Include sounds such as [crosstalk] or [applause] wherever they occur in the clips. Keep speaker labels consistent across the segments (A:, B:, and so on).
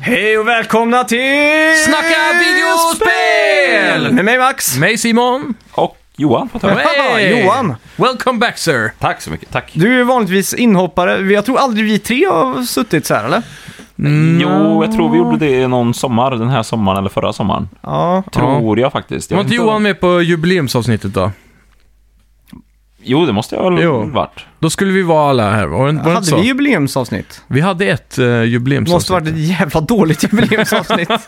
A: Hej och välkomna till...
B: Snacka videospel!
A: Med mig Max.
B: Mig Simon!
C: Och Johan får ta med.
B: Hey!
A: Johan.
B: Welcome back sir!
C: Tack så mycket, tack.
A: Du är ju vanligtvis inhoppare. Jag tror aldrig vi tre har suttit så här eller?
C: Jo, jag tror vi gjorde det någon sommar, den här sommaren eller förra sommaren.
A: Ja.
C: Tror jag faktiskt. Jag
B: Var
C: vet
B: inte Johan med på jubileumsavsnittet då?
C: Jo, det måste jag väl
B: Jo.
C: varit.
B: Då skulle vi vara alla här, var det, var det inte
A: Hade
B: så?
A: vi
B: Vi...
A: jubileumsavsnitt?
B: hade ett
A: Det måste
B: uh,
A: varit
B: jubileumsavsnitt.
A: ett jävla dåligt
B: [laughs]
A: jubileumsavsnitt.
C: Men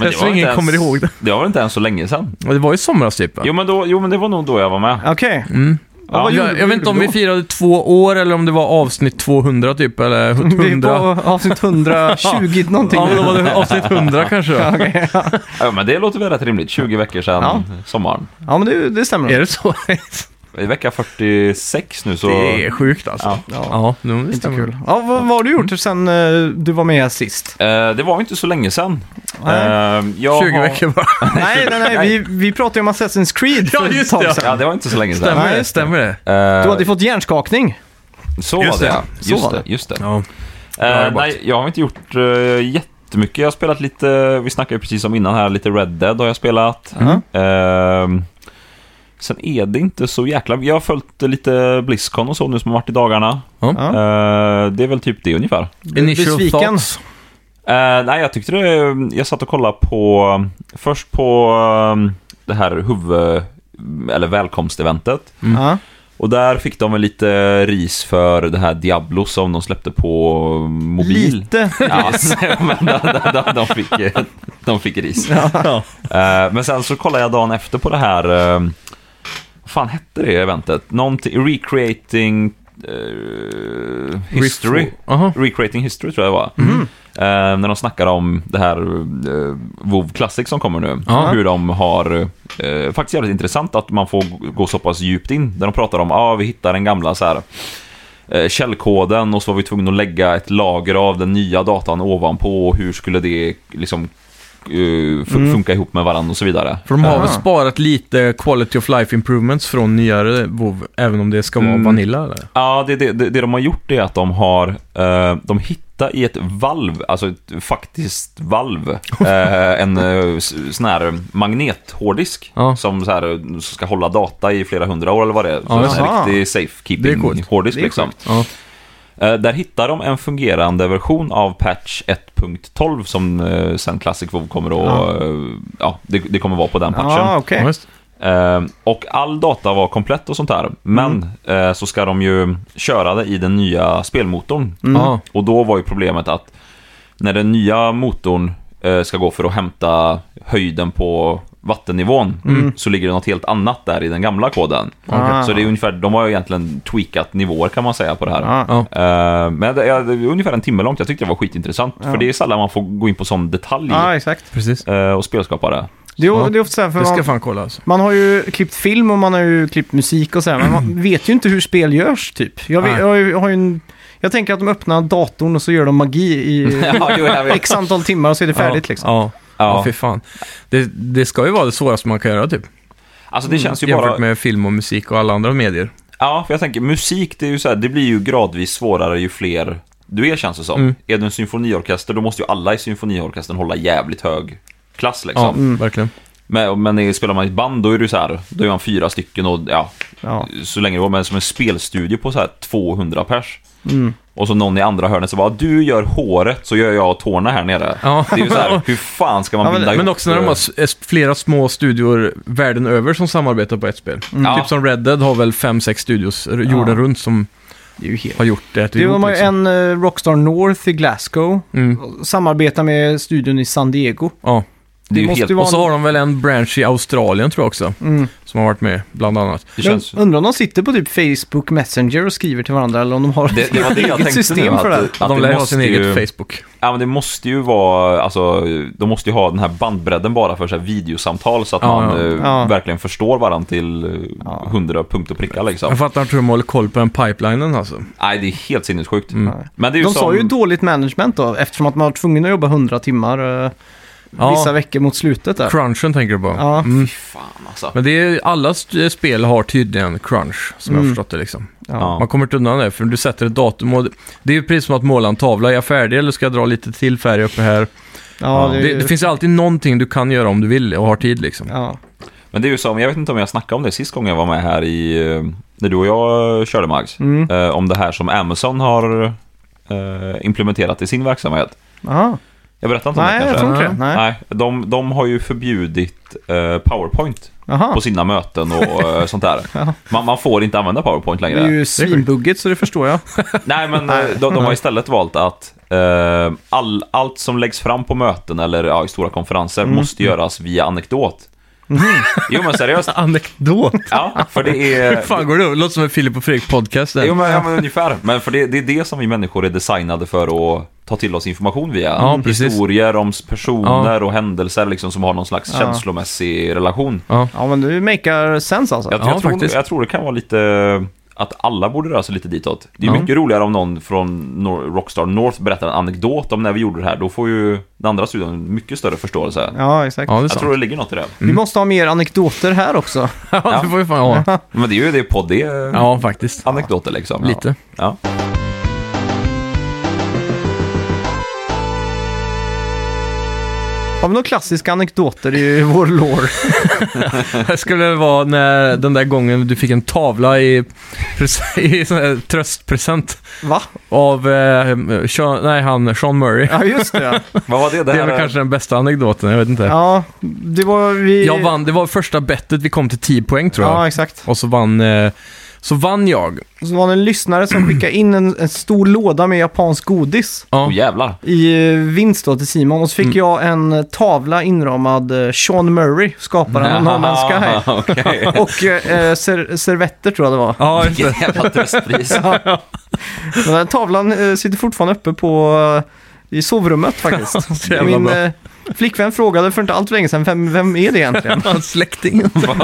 B: Jag tror
C: inte
B: ingen
C: ens-
B: kommer ihåg det.
C: Det var väl inte ens så länge sedan.
B: Det var i somras typ va?
C: Jo men, då, jo, men det var nog då jag var med.
A: Okej.
B: Mm.
A: Ja, vad gjorde
B: jag, jag vet inte om vi
A: då?
B: firade två år eller om det var avsnitt 200 typ, eller
A: Vi är [laughs]
B: 100.
A: på avsnitt
B: [laughs]
A: 120 någonting.
B: Ja, men då var det avsnitt 100 kanske då.
A: Ja, [laughs] okej, ja.
C: Ja, men det låter väl rätt rimligt. 20 veckor sedan
A: Ja.
C: sommaren.
A: ja, men det, det stämmer.
B: Är det så?
C: I vecka 46 nu så...
B: Det är sjukt alltså.
C: Ja.
B: ja nu, det
A: Inte
B: stämmer.
A: kul. Ja, vad, vad har du gjort sen eh, du var med här
B: [laughs]
A: sist?
C: Eh, det var ju inte så länge sedan.
A: Nej.
C: Eh, jag
B: 20
C: har-
B: veckor bara.
A: Nej, nej, nej. Vi, vi pratade ju om Assassin's Creed för
B: Ja,
A: ett
B: just
A: tag
B: det, ja.
A: sedan.
C: Ja, det var inte så länge sedan.
B: Stämmer
A: Nej,
B: det?
A: just det.
B: Stämmer det?
C: Eh,
A: Du hade fått hjärnskakning.
C: Så
B: Just
C: var det,
B: det.
C: ja.
A: Så
C: Just
A: var
C: det.
A: det.
C: Just det.
B: Ja.
C: Eh,
B: Ja, det är bara-
C: nej, jag har inte gjort eh, jättemycket. Jag har spelat lite, vi snackade ju precis om innan här, lite Red Dead har jag spelat.
A: Mm.
C: Eh, sen är det inte så jäkla... Jag har följt lite Blizzcon och så nu som har varit i dagarna.
A: Ja.
C: Eh, det är väl typ det ungefär.
B: Initial
A: Besviken.
B: thoughts.
C: Eh, nej, jag tyckte det... Jag satt och kollade på... Först på eh, det här huvud... Eller välkomsteventet.
A: Ja.
C: Och där fick de väl lite ris för det här Diablo som de släppte på mobil.
A: Lite.
C: Ja, [laughs] men de, de, de, de, fick, de fick ris. [laughs] Eh, Men sen så kollade jag dagen efter på det här, eh, vad fan hette det eventet? Någonting, Recreating eh, History.
B: Aha.
C: Recreating History tror jag det var.
B: Mhm.
C: Eh, när de snackar om det här eh, WoW Classic som kommer nu.
B: Ja.
C: Hur de har... Eh, faktiskt jävligt intressant att man får gå så pass djupt in. Där de pratar om, ja ah, vi hittar den gamla så här eh, källkoden och så var vi tvungna att lägga ett lager av den nya datan ovanpå och hur skulle det liksom eh, fun- funka ihop med varandra och så vidare.
B: Mm.
C: Eh,
B: För de har väl
A: Aha.
B: sparat lite quality of life improvements från nyare WoW, även om det ska vara
C: Mm.
B: Vanilla eller?
C: Ja, det, det, det det de har gjort är att de har eh, de hittar i ett valv, alltså ett faktiskt valv, eh, en eh, s- sån här magnethårddisk
B: Ja.
C: som så här, eh, som ska hålla data i flera hundra år eller vad det är.
B: Ja,
C: så
A: jaha.
C: en riktig
B: Det är coolt.
C: safekeeping-hårddisk
A: Det är
C: liksom.
B: Ja.
C: Eh, där hittar de en fungerande version av patch 1.12 som eh, sen Classic WoW kommer att... Ja. ja, det, det kommer vara på den patchen.
A: Ja, okej.
B: Ja, just.
C: Eh, och all data var komplett och sånt där. Men
B: Mm.
C: eh, så ska de ju köra det i den nya spelmotorn.
B: Ja.
C: Och då var ju problemet att när den nya motorn eh, ska gå för att hämta höjden på vattennivån
B: Mm.
C: så ligger det något helt annat där i den gamla koden.
A: Ah.
C: Så det är ungefär, de har ju egentligen tweakat nivåer kan man säga på det här.
A: Ja.
B: Ja.
C: Eh, men det är, det är ungefär en timme långt. Jag tyckte det var skitintressant. För det är sällan man får gå in på sån detalj
A: Ja, exakt.
B: Precis.
C: eh, och spelskapare.
A: Det är,
B: Ja.
A: det är ofta så här, för
B: Det ska
A: man,
B: fan kolla alltså.
A: man har ju klippt film och man har ju klippt musik och så här, men man vet ju inte hur spel görs typ. Jag, vet,
B: Nej.
A: jag, har ju- jag har ju en, jag tänker att de öppnar datorn och så gör de magi i
C: [laughs] ja, jo, jag
A: [laughs]
C: vet.
A: x antal timmar och så är det färdigt liksom.
B: Ja. Ja,
C: Ja.
B: fy fan. Det, det ska ju vara det svåraste man kan göra typ.
C: Alltså det känns ju
B: Jämfört
C: bara...
B: med film och musik och alla andra medier.
C: Ja, för jag tänker musik, det är ju så här, det blir ju gradvis svårare ju fler du är känns det som.
B: Mm.
C: Är du en symfoniorkester, då måste ju alla i symfoniorkestern hålla jävligt hög klass liksom.
B: Ja, verkligen.
C: Men, men är- spelar man i ett band, då är du så här, då är man fyra stycken och ja,
A: Ja.
C: så länge det går. Men som en spelstudio på så här 200 pers.
A: Mm.
C: Och så någon i andra hörnet så bara, du gör håret så gör jag tårna här nere.
B: Ja.
C: Det är ju så här, hur fan ska man
A: Ja, men-
C: binda
B: Men
C: ihop,
B: också när de har
C: eh,
B: s- s- flera små studior världen över som samarbetar på ett spel.
C: Ja.
B: Typ som Red Dead har väl fem, sex studios r- jorden runt som
A: Det är ju helt...
B: har gjort det.
A: Det var ju en eh, Rockstar North i Glasgow.
B: liksom. Mm.
A: Samarbetar med studion i San Diego.
B: Ja.
C: Det, är ju
A: måste
C: helt,
A: ju vara-
B: Och så har de väl en branch i Australien tror jag också.
A: Mm.
B: Som har varit med, bland annat.
C: det känns...
A: Men Undrar om de sitter på typ Facebook Messenger och skriver till varandra eller om de har
C: Det, det var det jag
A: eget
C: tänkte nu,
A: system
C: att,
A: för det. här.
C: Att
B: de
C: det
B: lär ju ha
C: måste
B: sin
C: ju-
B: egen Facebook.
C: Ja men det måste ju vara, alltså de måste ju ha den här bandbredden bara för så här videosamtal så att
B: Ja,
C: man
B: ja.
C: eh,
A: Ja.
C: verkligen förstår varandra till eh, hundra punkt och pricka liksom.
B: Jag fattar inte hur de håller koll på den pipelinen alltså.
C: Nej det är helt
B: Mm.
C: sinnessjukt. Men det är ju
A: De
C: som,
A: sa ju dåligt management då, eftersom att man var tvungen att jobba 100 timmar. eh,
B: Ja.
A: vissa veckor mot slutet där.
B: Crunchen tänker du på?
A: Ja.
B: Mm.
C: Fy fan alltså.
B: Men det är, alla st- spel har tydligen crunch, som jag har
A: Mm.
B: förstått det liksom.
A: Ja.
B: Man kommer inte undan det, för du sätter ett datum och det- det är ju precis som att måla en tavla. Är jag färdig eller ska jag dra lite till färg uppe här?
A: Ja,
C: Ja.
A: det,
B: Det, det finns alltid någonting du kan göra om du vill och har tid liksom.
A: ja.
C: Men det är ju som, jag vet inte om jag snackade om det sist gången jag var med här i, eh, när du och jag eh, körde Mags.
A: Mm.
C: Eh, om det här som Amazon har eh, implementerat i sin verksamhet.
A: Aha.
C: Jag berättade inte om
A: Nej,
C: det
A: jag
C: kanske?
A: tror inte det.
B: Ja.
A: Nej.
C: Nej, de, de har ju förbjudit eh, PowerPoint
A: Aha.
C: på sina möten och eh, sånt där.
A: Ja.
C: Man, man får inte använda PowerPoint
A: Det
C: längre.
A: är ju svinbugget så det förstår
C: [laughs]
A: jag.
C: Nej, men eh, de, de har istället valt att eh, all, allt som läggs fram på möten eller ja, i stora konferenser måste göras via anekdot. Jo, men seriöst.
B: Anekdot?
C: Ja, för det
B: Hur [laughs]
C: är...
B: fan går det? Det låter som en Filip och Fredrik podcast. där.
C: Jo, men, ja, men ungefär. Men för det, det är det som vi människor är designade för att ta till oss information via.
B: Ja, precis.
C: Historier om s- personer och händelser liksom, som har någon slags
A: Ja.
C: känslomässig relation.
B: Ja.
A: Ja, men du makear sense alltså.
C: Jag,
B: Ja,
C: jag, tror,
B: faktiskt.
C: jag tror det kan vara lite att alla borde röra sig lite ditåt. Det är
B: Ja.
C: mycket roligare om någon från Nor- Rockstar North berättar en anekdot om när vi gjorde det här. Då får ju den andra studion mycket större förståelse.
A: Ja, exakt.
B: ja, det är
C: jag
B: sant.
C: tror det ligger något i det.
A: Vi måste ha mer anekdoter här också.
B: [laughs] Ja, det får vi fan ha.
C: Men det är ju det podd, det är
B: Ja, faktiskt.
C: anekdoter liksom.
B: Lite.
C: Ja.
A: Har vi några klassiska anekdoter i vår
C: [laughs]
A: lore?
B: [laughs] Det skulle vara när den där gången du fick en tavla i, pres- [laughs] i sån här tröstpresent
A: Va?
B: av eh, Sean, nej, han, Sean Murray.
A: Ja, just det.
C: [laughs]
A: ja.
C: Vad var det?
B: Det är
C: här
B: väl kanske den bästa anekdoten, jag vet inte.
A: Ja, det var vi...
B: Jag vann, det var första bettet, vi kom till 10 poäng tror jag.
A: Ja, exakt.
B: Och så vann, eh, så vann jag.
A: Och så var det en lyssnare som skickade in en, en stor låda med japansk godis
B: Ja.
C: Åh, Oh, jävlar.
A: i eh, vinst då till Simon. Och så fick jag en eh, tavla inramad eh, Sean Murray, skaparen av Norman
C: [laughs]
A: Sky.
B: [laughs]
C: Okej.
A: Och eh, ser, servetter tror jag det var. [laughs]
B: Ja, just det.
C: Vilket
B: [laughs]
C: jävla tröstpris.
A: Den här tavlan eh, sitter fortfarande uppe på, eh, i sovrummet faktiskt.
B: Så jävla
A: Min
B: bra.
A: eh, flickvän frågade för inte allt för länge sedan, vem, vem är det egentligen?
B: [laughs] Hans släkting.
C: vad,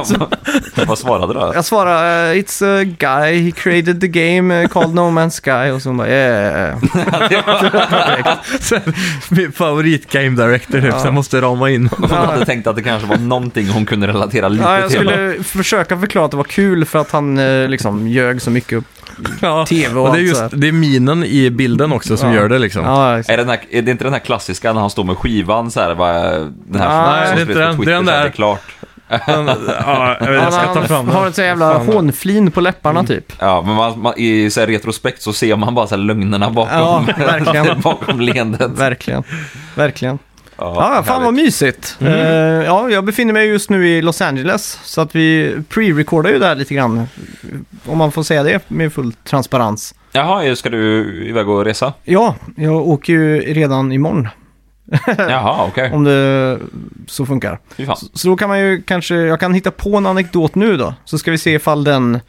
C: vad, vad svarade du då?
A: Jag svarade, eh, it's a guy, he created the game eh, called No Man's Sky. Och så hon bara, yeah.
B: Så här, Min favorit-game director, typ.
A: Ja.
B: så jag måste rama
A: [laughs]
B: in honom.
C: Hon hade tänkt att det kanske var någonting hon kunde relatera lite
A: Ja, jag
C: till.
A: skulle försöka förklara att det var kul för att han eh, liksom ljög så mycket.
B: Ja.
A: TV och
B: och det är
A: allt
B: just
A: så här.
B: det är minen i bilden också som
A: Ja.
B: gör det liksom.
A: Ja, exakt.
C: Är det, den här, är det inte den här klassiska när han står med skivan så här, vad är den här
A: Ah, Nej,
C: som
B: det är
C: sprids
B: inte
C: på
B: den.
C: Twitter,
B: Det är den
C: så här,
B: där.
C: Det är klart.
B: Men, [laughs] ja, jag, vet, jag ska ta fram
A: han har
B: den.
A: ett så jävla
B: Fan.
A: hånflin på
C: Mm.
A: läpparna typ.
C: Ja, men man, man, i så här retrospekt så ser man bara så här lögnerna
A: Ja,
C: bakom,
A: verkligen.
C: [laughs] bakom leendet.
A: Verkligen. Verkligen. Ja,
C: härligt. Mm.
A: fan vad mysigt. Eh, ja, jag befinner mig just nu i Los Angeles, så att vi pre-recordar ju där lite grann. Om man får säga det med full transparens.
C: Jaha, ska du iväg
A: [laughs]
C: och resa?
A: Ja, jag åker ju redan imorgon,
C: Jaha, okej.
A: om det så funkar.
C: Fy fan.
A: Så då kan man ju kanske, jag kan hitta på en anekdot nu då, så ska vi se ifall den...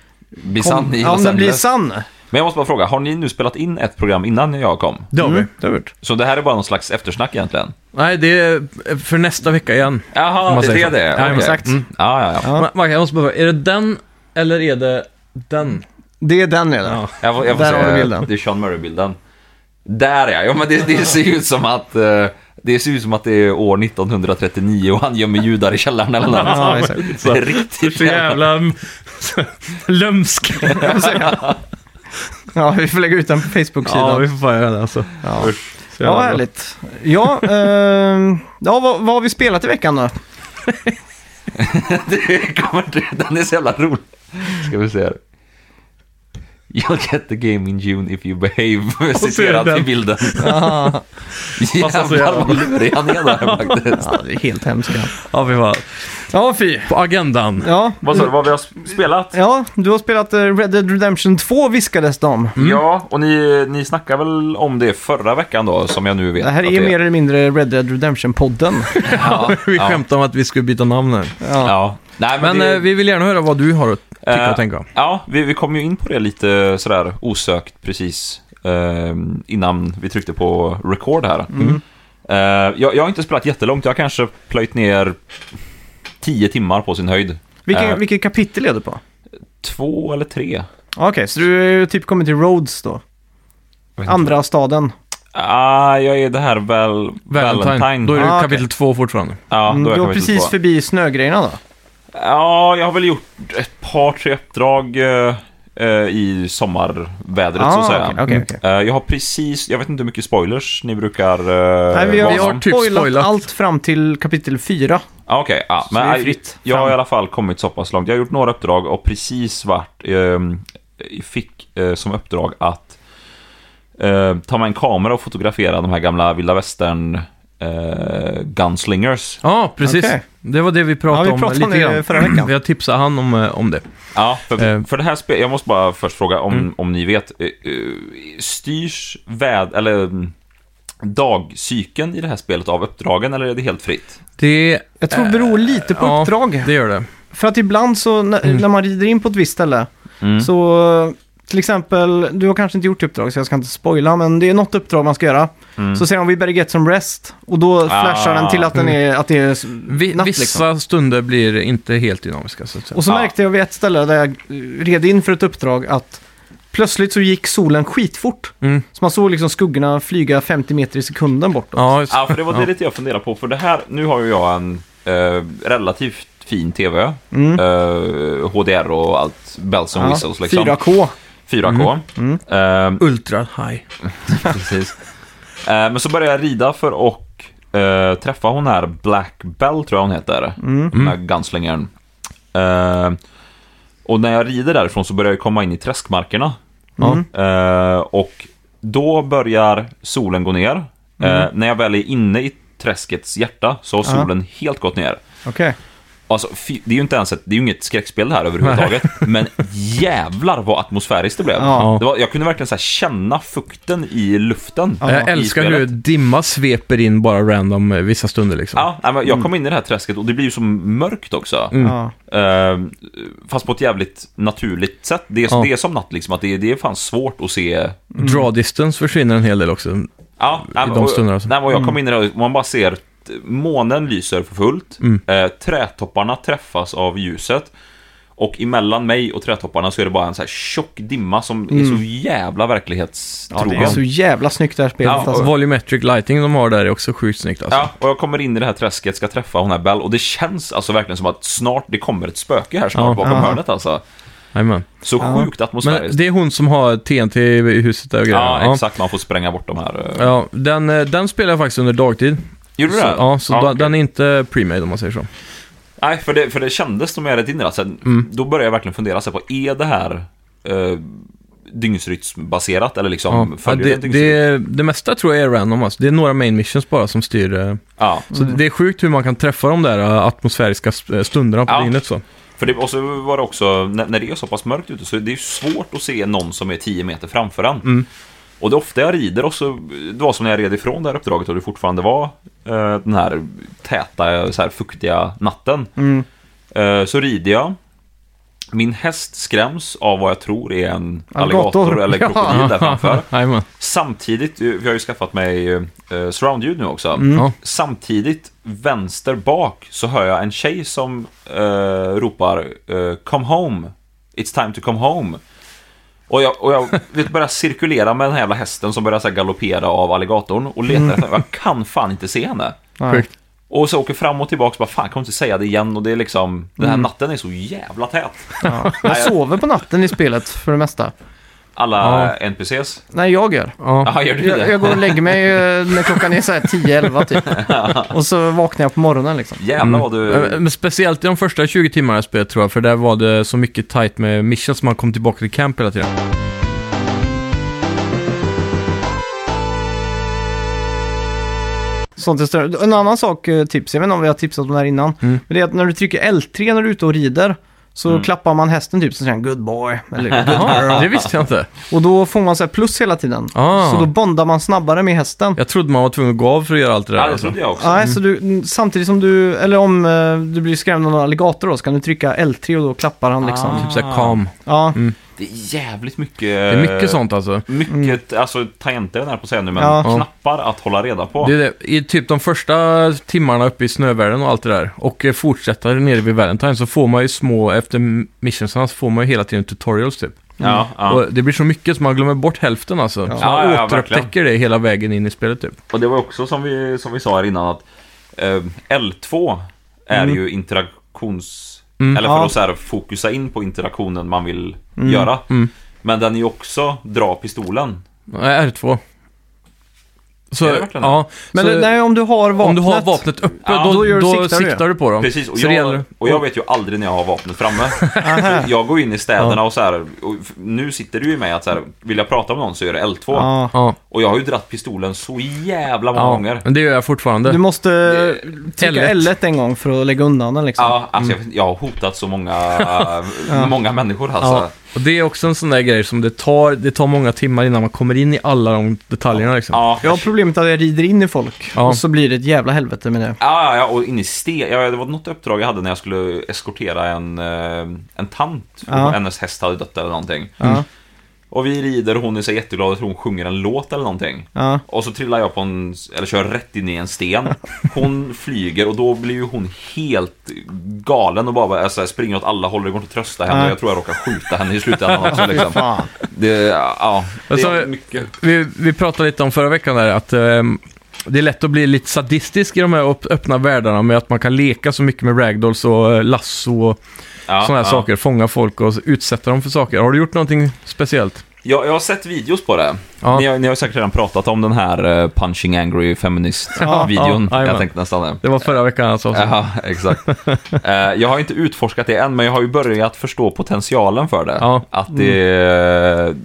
C: Bli sann i
A: ja, om
C: Los
A: den blir
C: Angeles.
A: sann.
C: Men jag måste bara fråga, har ni nu spelat in ett program innan jag kom?
B: Det har vi.
A: Mm, det har vi gjort.
C: Så det här är bara någon slags eftersnack egentligen?
B: Nej, det är för nästa vecka igen. Om
C: Jaha,
B: man
C: det
B: säger
C: är
B: så.
C: det?
B: Ja,
C: Okej.
A: exakt.
C: Mm. Ja, ja, ja.
A: Ja.
B: Ma- Mark, jag måste bara fråga, är det den eller är det den?
A: Det är den redan.
B: Ja.
C: Jag får, jag får
A: Där har
C: se,
A: du bilden.
C: Det är Sean Murray-bilden. Där ja, ja men det, det ser ju ut som att eh, det ser ut som att det är år 1939 och han gömmer judar i källaren eller något.
A: [laughs] Ja, exakt.
C: Det är riktigt
B: Så jävla mm,
C: [laughs]
B: lömsk.
A: Ja, vi får lägga ut den på
B: Ja,
A: Facebook-sidan.
B: vi får fan göra det alltså.
A: Ja,
B: Så jävla
A: ja
B: bra.
A: härligt. Ja, ehm, ja vad, vad har vi spelat i veckan då?
C: [laughs] Det kommer, den är så jävla rolig. Ska vi se här. You'll get the game in June if you behave,
B: så är
C: citerat i
B: den. alltså,
C: bilden.
A: [laughs] Ja,
B: Passar så
C: Jävlar
B: jävla
C: vad lurig han är där
B: [laughs]
C: faktiskt.
A: det är helt hemskt. ja.
B: Ja, vi var
A: Ja, fy.
B: på agendan.
A: Ja,
C: Vad sa du, vad vi har spelat?
A: ja, du har spelat eh, Red Dead Redemption 2 viskades det om.
C: Ja, och ni, ni snackade väl om det förra veckan då, som jag nu vet
A: Det här
C: att
A: är mer eller mindre Red Dead Redemption-podden. [laughs]
C: Ja,
B: Vi
C: ja.
B: skämtade om att vi skulle byta namn här.
A: Ja.
C: Ja. Nej, men,
B: Men
C: det,
B: eh, vi vill gärna höra vad du har att tycka
C: Eh,
B: och tänka.
C: Ja, vi, vi kom ju in på det lite sådär osökt precis eh, innan vi tryckte på record
A: Mm.
C: här. Eh, jag, jag har inte spelat jättelångt, jag har kanske plöjt ner 10 timmar på sin höjd.
A: Vilken,
C: Eh,
A: Vilket kapitel är du på?
C: två eller tre?
A: eh, Ja, Okej, så du är ju typ kommit till Rhodes då?
C: Jag vet inte.
A: Andra staden.
C: Ah, jag är det här väl...
B: Valentine. Då är det
A: Ah, okej.
B: kapitel två fortfarande.
C: Ja,
A: Mm,
C: då är
A: du
C: jag
A: var
C: kapitel
A: precis
C: två.
A: förbi snögrejerna då?
C: Ja, jag har väl gjort ett par, tre uppdrag eh, eh, i sommarvädret så att säga.
A: Ah, okej, okej, okej.
C: Eh, jag har precis, jag vet inte hur mycket spoilers ni brukar eh,
A: Nej, vi har,
B: vi har
C: vara om.
B: typ
A: spoilat,
B: spoilat.
A: allt fram till kapitel 4.
C: Ja, Okej, ja,
A: det är
C: men jag,
A: fritt
C: jag har
A: fram.
C: i alla fall kommit så pass långt. Jag har gjort några uppdrag och precis vart eh, fick eh, som uppdrag att eh, ta med en kamera och fotografera de här gamla vilda västern eh, gunslingers.
B: Ja, precis.
A: Okej.
B: Det var det vi
A: Ja, vi
B: pratade,
A: pratade
B: om
A: om
B: lite
A: det
B: grann.
A: förra veckan.
B: Vi har tipsat han om, eh, om det.
C: Ja,
B: Eh.
C: för, för det här spelet, jag måste bara först fråga om,
B: Mm.
C: om ni vet, eh, eh, styrs väd, eller mm, dagcykeln i det här spelet av uppdragen eller är det helt fritt?
B: Det,
A: Jag tror det beror lite på
B: ja,
A: uppdrag.
B: det gör det.
A: För att ibland så när,
B: Mm.
A: när man rider in på ett visst ställe
C: Mm.
A: så till exempel, du har kanske inte gjort uppdrag så jag ska inte spoila, men det är något uppdrag man ska göra.
C: Mm.
A: Så säger de vi better get some rest och då flashar den till att, den är, att det är s-
B: Vi,
A: natt
B: vissa
A: liksom.
B: stunder blir inte helt dynamiska, så att säga.
A: Och så
C: Ja.
A: märkte jag vid ett ställe där jag eh, red in för ett uppdrag att plötsligt så gick solen skitfort.
B: Mm.
A: Så man såg liksom skuggorna flyga 50 meter i sekunden bort.
B: Ja, just,
C: [laughs] Ja, för det var det
B: Ja.
C: lite jag funderade på, för det här, nu har ju jag en eh, relativt fin TV,
A: Mm.
C: eh, HDR och allt, bells and
A: Ja,
C: whistles liksom.
A: 4K.
C: 4K.
A: Mm.
C: Eh,
B: Ultra high.
C: Precis. Eh, men så började jag rida för att eh, träffa hon här, Black Bell tror jag hon heter.
A: Mm.
C: Den här gunslingern. Eh, och när jag rider därifrån så börjar jag komma in i träskmarkerna.
A: Mm.
C: Eh, och då börjar solen gå ner. Eh, när jag väl är inne i träskets hjärta så har
A: Mm. Ja.
C: solen helt gått ner.
A: Okej.
C: Alltså, fy, det är ju inte ens ett, det är ju inget skräckspel det här överhuvudtaget. men jävlar vad atmosfäriskt det blev.
A: Ja.
C: Det var, jag kunde verkligen så här känna fukten i luften.
A: Ja,
B: jag
C: i
B: älskar
C: spelet.
B: hur dimma sveper in bara random eh, vissa stunder liksom.
C: Ja, nej, men jag kom in i det här träsket och det blir ju så mörkt också.
B: Mm.
A: Ja.
C: Ehm, fast på ett jävligt naturligt sätt. Det är,
B: Ja.
C: det är som natt liksom, att det, är- det är fan svårt att se.
B: Mm. Draw distance försvinner en hel del också. Alltså,
C: Ja, nej, men-
B: de
C: och-
B: stunderna alltså.
C: Nej, men jag kom in i det här och man bara ser att månen lyser för fullt. Eh, trätopparna träffas av ljuset. Och emellan mig och trätopparna så är det bara en så här tjock dimma som är så jävla
A: Ja, det
C: verklighetstrogen.
A: är så jävla snyggt det här spelet
C: Ja, och-
A: alltså.
B: Volumetric lighting de har där är också sjukt snyggt alltså.
C: Ja, och jag kommer in i det här träsket, ska träffa hon här Bell och det känns alltså verkligen som att snart, det kommer ett spöke här snart
B: Ja.
C: bakom
A: Ja.
C: hörnet alltså.
B: Jajamän.
C: Så sjukt
B: Men
C: atmosfäriskt.
B: det är hon som har TNT i huset där och grejer.
C: Ja, exakt. Man får spränga bort de här. eh.
B: Ja, den, eh, den spelar jag faktiskt under dagtid.
C: Gjorde du
B: Så,
C: det?
B: ja, så da-
C: okej.
B: den är inte pre-made om man säger så.
C: Nej, för det, för det kändes som jag hade tindrat. Sen,
B: Mm.
C: Då började jag verkligen fundera så här, på, är det här eh, dygnsrytmbaserat eller
B: Ja.
C: liksom
B: Ja,
C: följer
B: det,
C: det dygnsrytm?
B: det, det mesta tror jag är random alltså. Det är några main missions bara som styr. eh,
C: Ja.
B: Så det är sjukt hur man kan träffa de där eh, atmosfäriska sp- stunderna på
C: Ja.
B: dygnet så.
C: För det, och så var det också, när, när det är så pass mörkt ute så är det ju svårt att se någon som är 10 meter framför en.
B: Mm.
C: Och det är ofta jag rider och så, det var som när jag red ifrån det här uppdraget och det fortfarande var eh, den här täta, så här fuktiga natten.
A: Mm.
C: Eh, så rider jag. Min häst skräms av vad jag tror är en
A: Alligator.
C: alligator,
B: [laughs]
C: eller
A: Ja.
C: krokodil där framför.
B: Jajamän.
C: Samtidigt, eh, vi har ju skaffat mig eh, surroundljud nu också.
B: Ja.
C: Samtidigt, vänster bak, så hör jag en tjej som eh, ropar eh, Come home, it's time to come home. Och jag, och jag vet, börjar cirkulera med den här jävla hästen som börjar så här galoppera av alligatorn och letar efter henne. Jag kan fan inte se henne.
A: Nej.
B: Sjukt.
C: Och så åker fram och tillbaka och bara fan, kan hon inte säga det igen? Och det är liksom, den här natten är så jävla tät.
A: Ja. Jag sover på natten i spelet för det mesta.
C: Alla
B: Ja.
C: NPCs.
A: Nej, jag gör.
B: Ja.
C: Ja, gör du
A: Jag, jag
C: det?
A: går och lägger mig eh, när klockan är så här 10-11 typ. Och så vaknar jag på morgonen liksom.
C: Jävlar vad du...
B: Eh, Men speciellt i de första 20 timmarna jag spelade tror jag, för där var det så mycket tight med missions, man kom tillbaka till camp hela
C: [laughs]
B: tiden.
A: Sånt är större. En annan sak, eh, tips, jag vet inte om vi har tipsat om det här innan.
B: Mm.
A: Men det är att när du trycker L3 när du är ute och rider så klappar man hästen typ så säger den good boy. Eller,
B: [laughs]
A: good
B: Ja,
A: girl.
B: det visste jag inte.
A: och då får man så här plus hela tiden.
B: Ah.
A: Så då bondar man snabbare med hästen.
B: Jag trodde man var tvungen att gå av för att göra allt det där.
C: Ja, det
B: alltså.
C: trodde jag också.
A: Nej, så du, samtidigt som du, eller om eh, du blir skrämd av en alligator då, så kan du trycka L3 och då klappar han liksom.
C: Ah. Eh.
B: Typ såhär calm.
A: Ja,
B: Mm.
C: Det är jävligt mycket...
B: Det är mycket sånt alltså.
C: Mycket, alltså tangenter är jag nära på att säga nu, men
A: Ja.
C: knappar att hålla reda på.
B: Det är det. I typ de första timmarna uppe i snövärlden och allt det där och eh, fortsätta nere vid Valentine så får man ju små, efter missionsarna så får man ju hela tiden tutorials typ.
C: Ja, ja.
B: Och det blir så mycket så man glömmer bort hälften alltså.
A: Ja.
B: Så man
C: Ja, ja,
B: återupptäcker det hela vägen in i spelet typ.
C: Och det var också som vi, som vi sa här innan att eh, L2 är ju interaktions...
B: Mm,
C: eller för
A: ja.
C: att så här, fokusa in på interaktionen man vill göra.
B: Mm.
C: Men den är ju också dra pistolen.
B: Nej, R2. Så,
C: Är det verkligen det?
B: ja.
A: Men
B: så,
A: nej, om du har vapnet.
B: om du har vapnet uppe,
C: Ja,
B: då,
A: då gör
B: då,
A: du- siktar du.
B: siktar du på dem.
C: Precis, och
B: så det
C: jag,
B: gäller...
C: och jag vet ju aldrig när jag har vapnet framme. Så jag går in i städerna och så här, och f- nu sitter det ju i mig att så här, vill jag prata med någon så gör det L2.
A: Ja.
B: Ja,
C: Och jag har ju dratt pistolen så jävla många
B: ja.
C: gånger.
B: Men det gör jag fortfarande.
A: Du måste trycka
B: L1.
A: L1 en gång för att lägga undan den liksom.
C: Ja, alltså jag, jag har hotat så många, många människor alltså.
B: Ja. Och det är också en sån där grej som det tar, det tar många timmar innan man kommer in i alla de detaljerna liksom.
C: Ja.
A: Jag har problemet att jag rider in i folk
B: Ja. Mm.
A: och så blir det ett jävla helvete med det.
C: Ja, ja, ja, och in i sten. Ja, det var något uppdrag jag hade när jag skulle eskortera en, eh, en tant.
A: Ja.
C: Och hennes häst hade dött eller någonting.
A: Ja,
C: Och vi rider och hon är så jätteglad och tror hon sjunger en låt eller någonting.
A: ja.
C: Och så trillar jag på en, eller kör rätt in i en sten.
A: [laughs]
C: Hon flyger och då blir ju hon helt galen och bara alltså, springer åt alla håll. Det går inte att trösta henne.
A: Ja.
C: Jag tror jag råkar skjuta henne i
A: [laughs]
C: slutändan också. Liksom.
A: Fan.
C: Det, ja, det
B: Alltså,
C: är mycket.
B: Vi, vi pratade lite om förra veckan där att ehm, det är lätt att bli lite sadistisk i de här upp- öppna världarna med att man kan leka så mycket med ragdolls och eh, lasso och
C: Ja,
B: sådana här
C: ja.
B: saker. Fånga folk och utsätta dem för saker. Har du gjort någonting speciellt?
C: Jag, jag har sett videos på det.
B: Ja.
C: Ni, har, ni har säkert redan pratat om den här eh, Punching Angry
A: Ja,
C: Feminist-videon.
B: ja, jajamän.
C: jag tänkte nästan eh. det.
B: Det var förra veckan alltså.
C: Ja, exakt.
B: [laughs]
C: Eh, jag har inte utforskat det än, men jag har ju börjat förstå potentialen för det.
B: Ja.
C: Att det,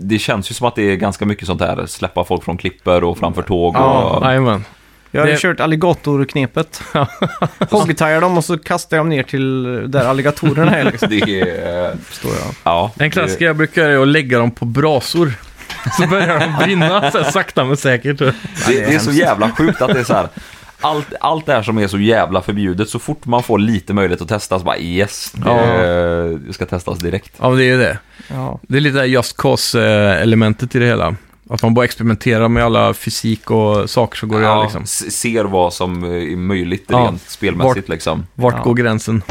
C: det känns ju som att det är ganska mycket sånt här, släppa folk från klippor och framför tåg. Och,
B: Ja, jajamän.
A: Jag har ju
B: Det-
A: kört alligatorknepet. [laughs] Hoggtajar dem och så kastar jag dem ner till där alligatorerna är. Liksom.
C: det är...
B: Förstår jag.
C: Ja,
B: En klassiker jag brukar göra är att lägga dem på brasor. Så börjar de brinna så här, sakta men säkert.
C: Det, det, är så jävla sjukt att det är så här. Allt, allt det här som är så jävla förbjudet, så fort man får lite möjlighet att testa så bara yes, det, det ska testas direkt.
B: Ja, men det är ju det.
A: Ja.
B: Det är lite det här just cause-elementet i det hela. Att man bara experimenterar med alla fysik och saker som går att göra
C: Ja,
B: liksom.
C: s- ser vad som är möjligt
B: Ja.
C: rent spelmässigt liksom.
B: Vart
A: Ja.
B: går gränsen?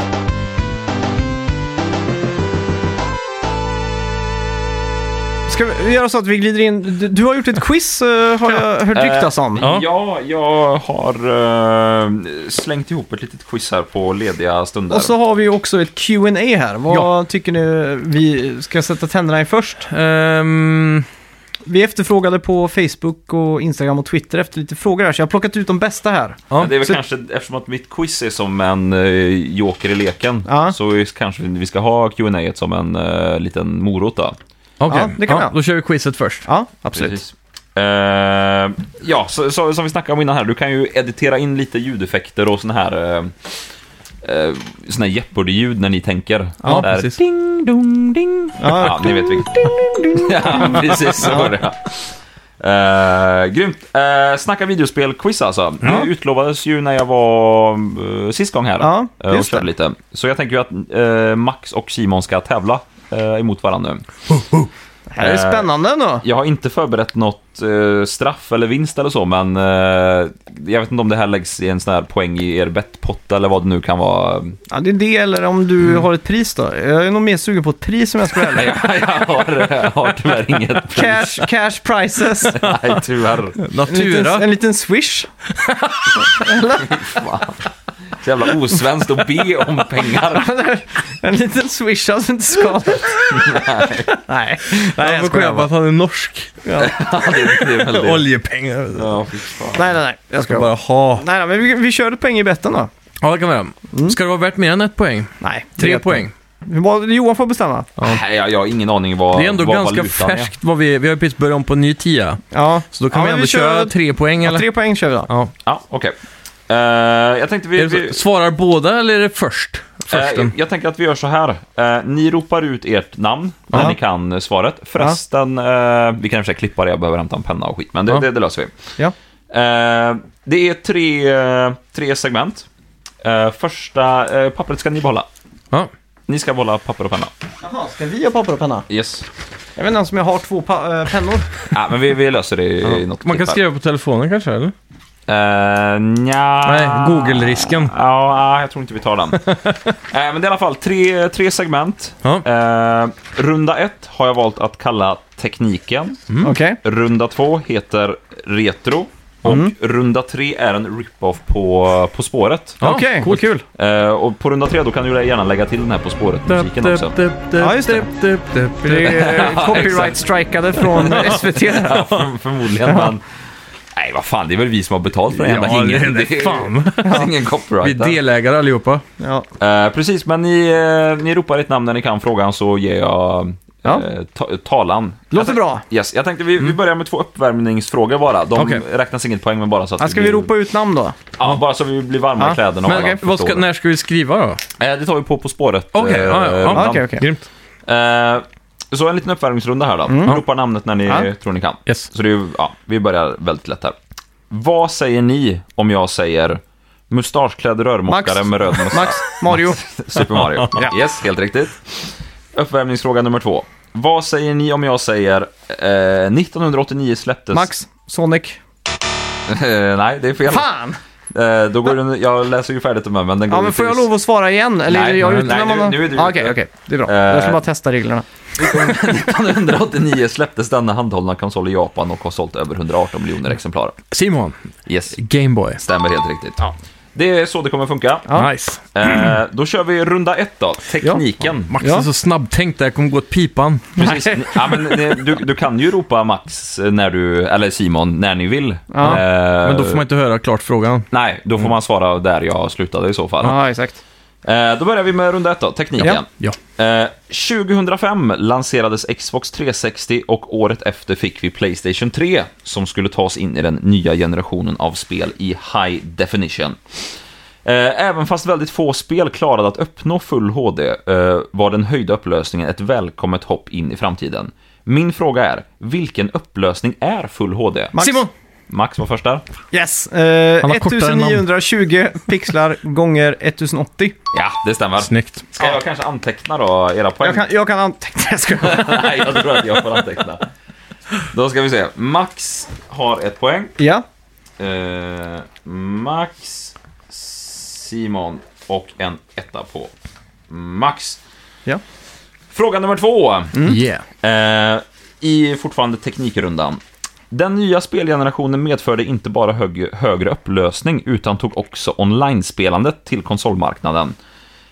A: Ska vi göra så att vi glider in? Du, du har gjort ett quiz eh, har jag hört ryktas om.
B: Ja.
C: Ja, jag har eh, slängt ihop ett litet quiz här på lediga stunder.
A: Och så har vi ju också ett Q&A här. Vad tycker ni vi ska sätta tänderna i först?
B: Ehm,
A: Vi efterfrågade på Facebook och Instagram och Twitter efter lite frågor här, så jag har plockat ut de bästa här.
B: ja.
C: Men det är väl
A: så-
C: kanske, eftersom att mitt quiz är som en eh, joker i leken,
A: Ja.
C: så är- kanske vi ska ha Q&A som en eh, liten morot då.
B: Okej,
A: Ja, det kan vi
B: ja,
A: ha.
B: då kör vi quizet först.
A: Ja, absolut.
C: Precis. Eh, ja, så, så, som vi snackade om innan här, du kan ju editera in lite ljudeffekter och såna här uh, uh, såna här Jeopardy-ljud när ni tänker.
B: Ja,
C: Där-
B: precis.
C: Ding, dong, ding.
A: Ja.
C: Ja, ni vet vilket. [laughs] ja, precis så var det. Uh, grymt. Uh, snacka videospel-quiz alltså. Det utlovades ju när jag var eh, sist gång här
A: Ja,
C: eh, och
A: just
C: körde
A: det.
C: lite. Så jag tänker ju att eh, Max och Simon ska tävla eh, emot varandra nu.
A: Det här är spännande ändå.
C: Jag har inte förberett något eh, straff eller vinst eller så, men eh, jag vet inte om det här läggs i en sån här poäng i er bettpott eller vad det nu kan vara.
A: Ja, det är det, eller om du har ett pris då. Jag är nog mer sugen på ett pris om jag ska vara [laughs] ärlig.
C: [laughs] jag har, jag har tyvärr inget pris.
A: Cash, cash [laughs] prices.
C: Nej, tyvärr.
A: En liten,
B: Natura.
A: en liten swish.
C: Så jävla osvenskt att be om
B: [laughs]
C: pengar.
A: En liten swish hade inte skadat. [laughs] Nej. Nej,
B: Jag
A: jag
B: får
A: skojar
B: kolla på
A: bara.
B: att han är norsk.
C: Ja, det, det är väl det.
B: Oljepengar.
C: Ja, fy fan.
A: Nej, nej, nej. Jag skojar
B: Jag ska
A: bara.
B: bara ha. Mm.
A: Nej, nej, men vi, vi kör ett poäng i betten då.
B: Ja, det kan vi göra. Ska det vara värt mer än ett poäng?
A: Nej,
B: Tre poäng.
A: Hur var- Johan får bestämma.
C: Nej, jag, jag har ingen aning vad
B: Det är ändå
C: vad
B: ganska
C: valutan är.
B: färskt. Vad vi, vi har ju precis börjat om på en ny tia.
A: Ja,
B: Så då kan
A: Ja,
B: vi
A: men
B: ändå
A: vi kör-
B: köra tre poäng
A: ja
B: eller?
A: tre poäng kör vi då.
B: Ja.
C: Ja, okej. Eh, jag tänkte vi...
B: Är det
C: vi
B: så, svarar båda eller är det först? Försten.
C: eh, jag tänker att vi gör så här. Eh, ni ropar ut ert namn när
A: Ja.
C: ni kan eh, svaret. Förresten, eh, vi kan i och för sig klippa det, jag behöver hämta en penna och skit, men det,
B: Ja.
C: det, det löser vi.
A: Ja.
C: Eh, det är tre, eh, tre segment. Eh, första eh, pappret ska ni behålla.
B: Ja.
C: Ni ska behålla papper och penna.
A: Jaha, ska vi ha papper och penna?
C: Yes.
A: Jag vet inte ens om jag har två pa- eh, pennor.
C: Ja, Äh, men vi, vi löser det i något
B: Man kan
C: klipp här.
B: skriva på telefonen kanske, eller?
C: Uh, nja.
B: Nej, Google-risken.
C: Ja, ja, jag tror inte vi
B: [laughs]
C: tar den. Eh, men det är i alla fall tre, tre segment.
B: Ja.
C: Eh, runda ett har jag valt att kalla tekniken.
B: Mm.
A: Okej.
C: Runda två heter retro. Och
B: Mm.
C: runda tre är en rip-off på På spåret.
B: Ja,
A: Okej, vad
B: coolt.
A: kul.
C: Eh, och på runda tre då kan du gärna lägga till den här På spåret-musiken också.
A: Ja, just det. Det är copyright-strikade från SVT.
C: [laughs] Ja, för, förmodligen, men... Nej, vad fan, det är väl vi som har betalt för den jävla
B: Ja,
C: jingeln.
B: det- fan.
C: [laughs] det är ingen copyright.
B: Vi är
C: där.
B: delägare allihopa.
A: Ja.
C: Eh, precis, men ni, eh, ni ropar ett namn när ni kan frågan så ger jag eh,
A: Ja.
C: ta- talan.
A: Låter
C: jag,
A: bra.
C: Yes, jag tänkte vi, vi börjar med två uppvärmningsfrågor bara. De
B: Mm. Okej.
C: räknas inget poäng men bara så att
A: Här ska vi
C: blir-
A: ropa ut namn då?
C: Ja, bara så vi blir varma
A: Ja.
C: i kläderna. och
B: Men
C: alla
B: okej, vad ska,
C: förstår.
B: när ska vi skriva då?
C: Eh, Det tar vi på På spåret.
B: Okej,
C: eh,
B: ja, ja, ja.
C: rundan.
A: Okej, okej.
B: Grymt.
C: Eh, så en liten uppvärmningsrunda här då. Ropa namnet när ni
A: Ja.
C: tror ni kan.
B: Mm. Yes.
C: Så det är, ju- ja, vi börjar väldigt lätt här. Vad säger ni om jag säger mustaschklädd rörmokare
A: Max.
C: med röd mustasch?
A: Max, Mario. [laughs]
C: Super Mario. Yes, helt riktigt. Uppvärmningsfråga nummer två. Vad säger ni om jag säger eh, 1989 släpptes...
A: Max, Sonic.
C: Eh, [laughs] nej, det är fel.
A: Fan!
C: Eh, då går den, jag läser ju färdigt om den, men den går
A: Ja, men
C: ut
A: får
C: i-
A: jag lov
C: [laughs]
A: att svara igen? Eller
C: Nej,
A: är jag
C: nej,
A: ute
C: nej,
A: när man...
C: nu- nu är du
A: ah,
C: ute.
A: Okej, okej. Det är bra. Jag ska
C: Eh.
A: bara testa reglerna.
C: 1989 släpptes denna handhållna konsol i Japan och har sålt över 118 miljoner exemplar.
B: Simon,
C: Yes,
B: Gameboy.
C: stämmer helt riktigt. Det är så det kommer funka.
A: Ja.
B: Nice.
C: Eh, då kör vi runda ett då, tekniken.
B: Max
A: Ja.
B: är så snabbtänkt där, kommer gå åt pipan.
C: Precis. Ja, men, eh, du, du kan ju ropa Max eh, när du, eller Simon när ni vill.
A: Ja.
C: Eh,
B: Men då får man inte höra klart frågan.
C: Nej, då
B: Mm.
C: får man svara där jag slutade i så fall.
A: Ja, exakt.
C: Eh, då börjar vi med runda ett då, tekniken.
B: Ja.
C: Eh, 2005 lanserades Xbox 360 och året efter fick vi Playstation 3 som skulle tas in i den nya generationen av spel i high definition. Eh, Även fast väldigt få spel klarade att uppnå full HD eh, var den höjda upplösningen ett välkommet hopp in i framtiden. Min fråga är, vilken upplösning är full HD?
A: Max.
B: Simon!
C: Max var först där.
A: Yes! Eh,
B: Han har kortare namn.
A: 1920
B: [laughs]
A: pixlar gånger 1080.
C: Ja, det stämmer.
B: Snyggt.
C: Ska jag kanske anteckna då era poäng?
A: Jag kan, jag kan [laughs] anteckna, jag
B: [laughs]
A: skojar.
C: [laughs] Nej, jag tror att jag får anteckna. Då ska vi se. Max har ett poäng.
A: Ja,
C: Eh, Max, Simon och en etta på Max.
A: ja. Mm.
C: Fråga nummer två.
B: Yeah.
C: Eh, I fortfarande teknikrundan. Den nya spelgenerationen medförde inte bara hög, högre upplösning utan tog också online-spelandet till konsolmarknaden.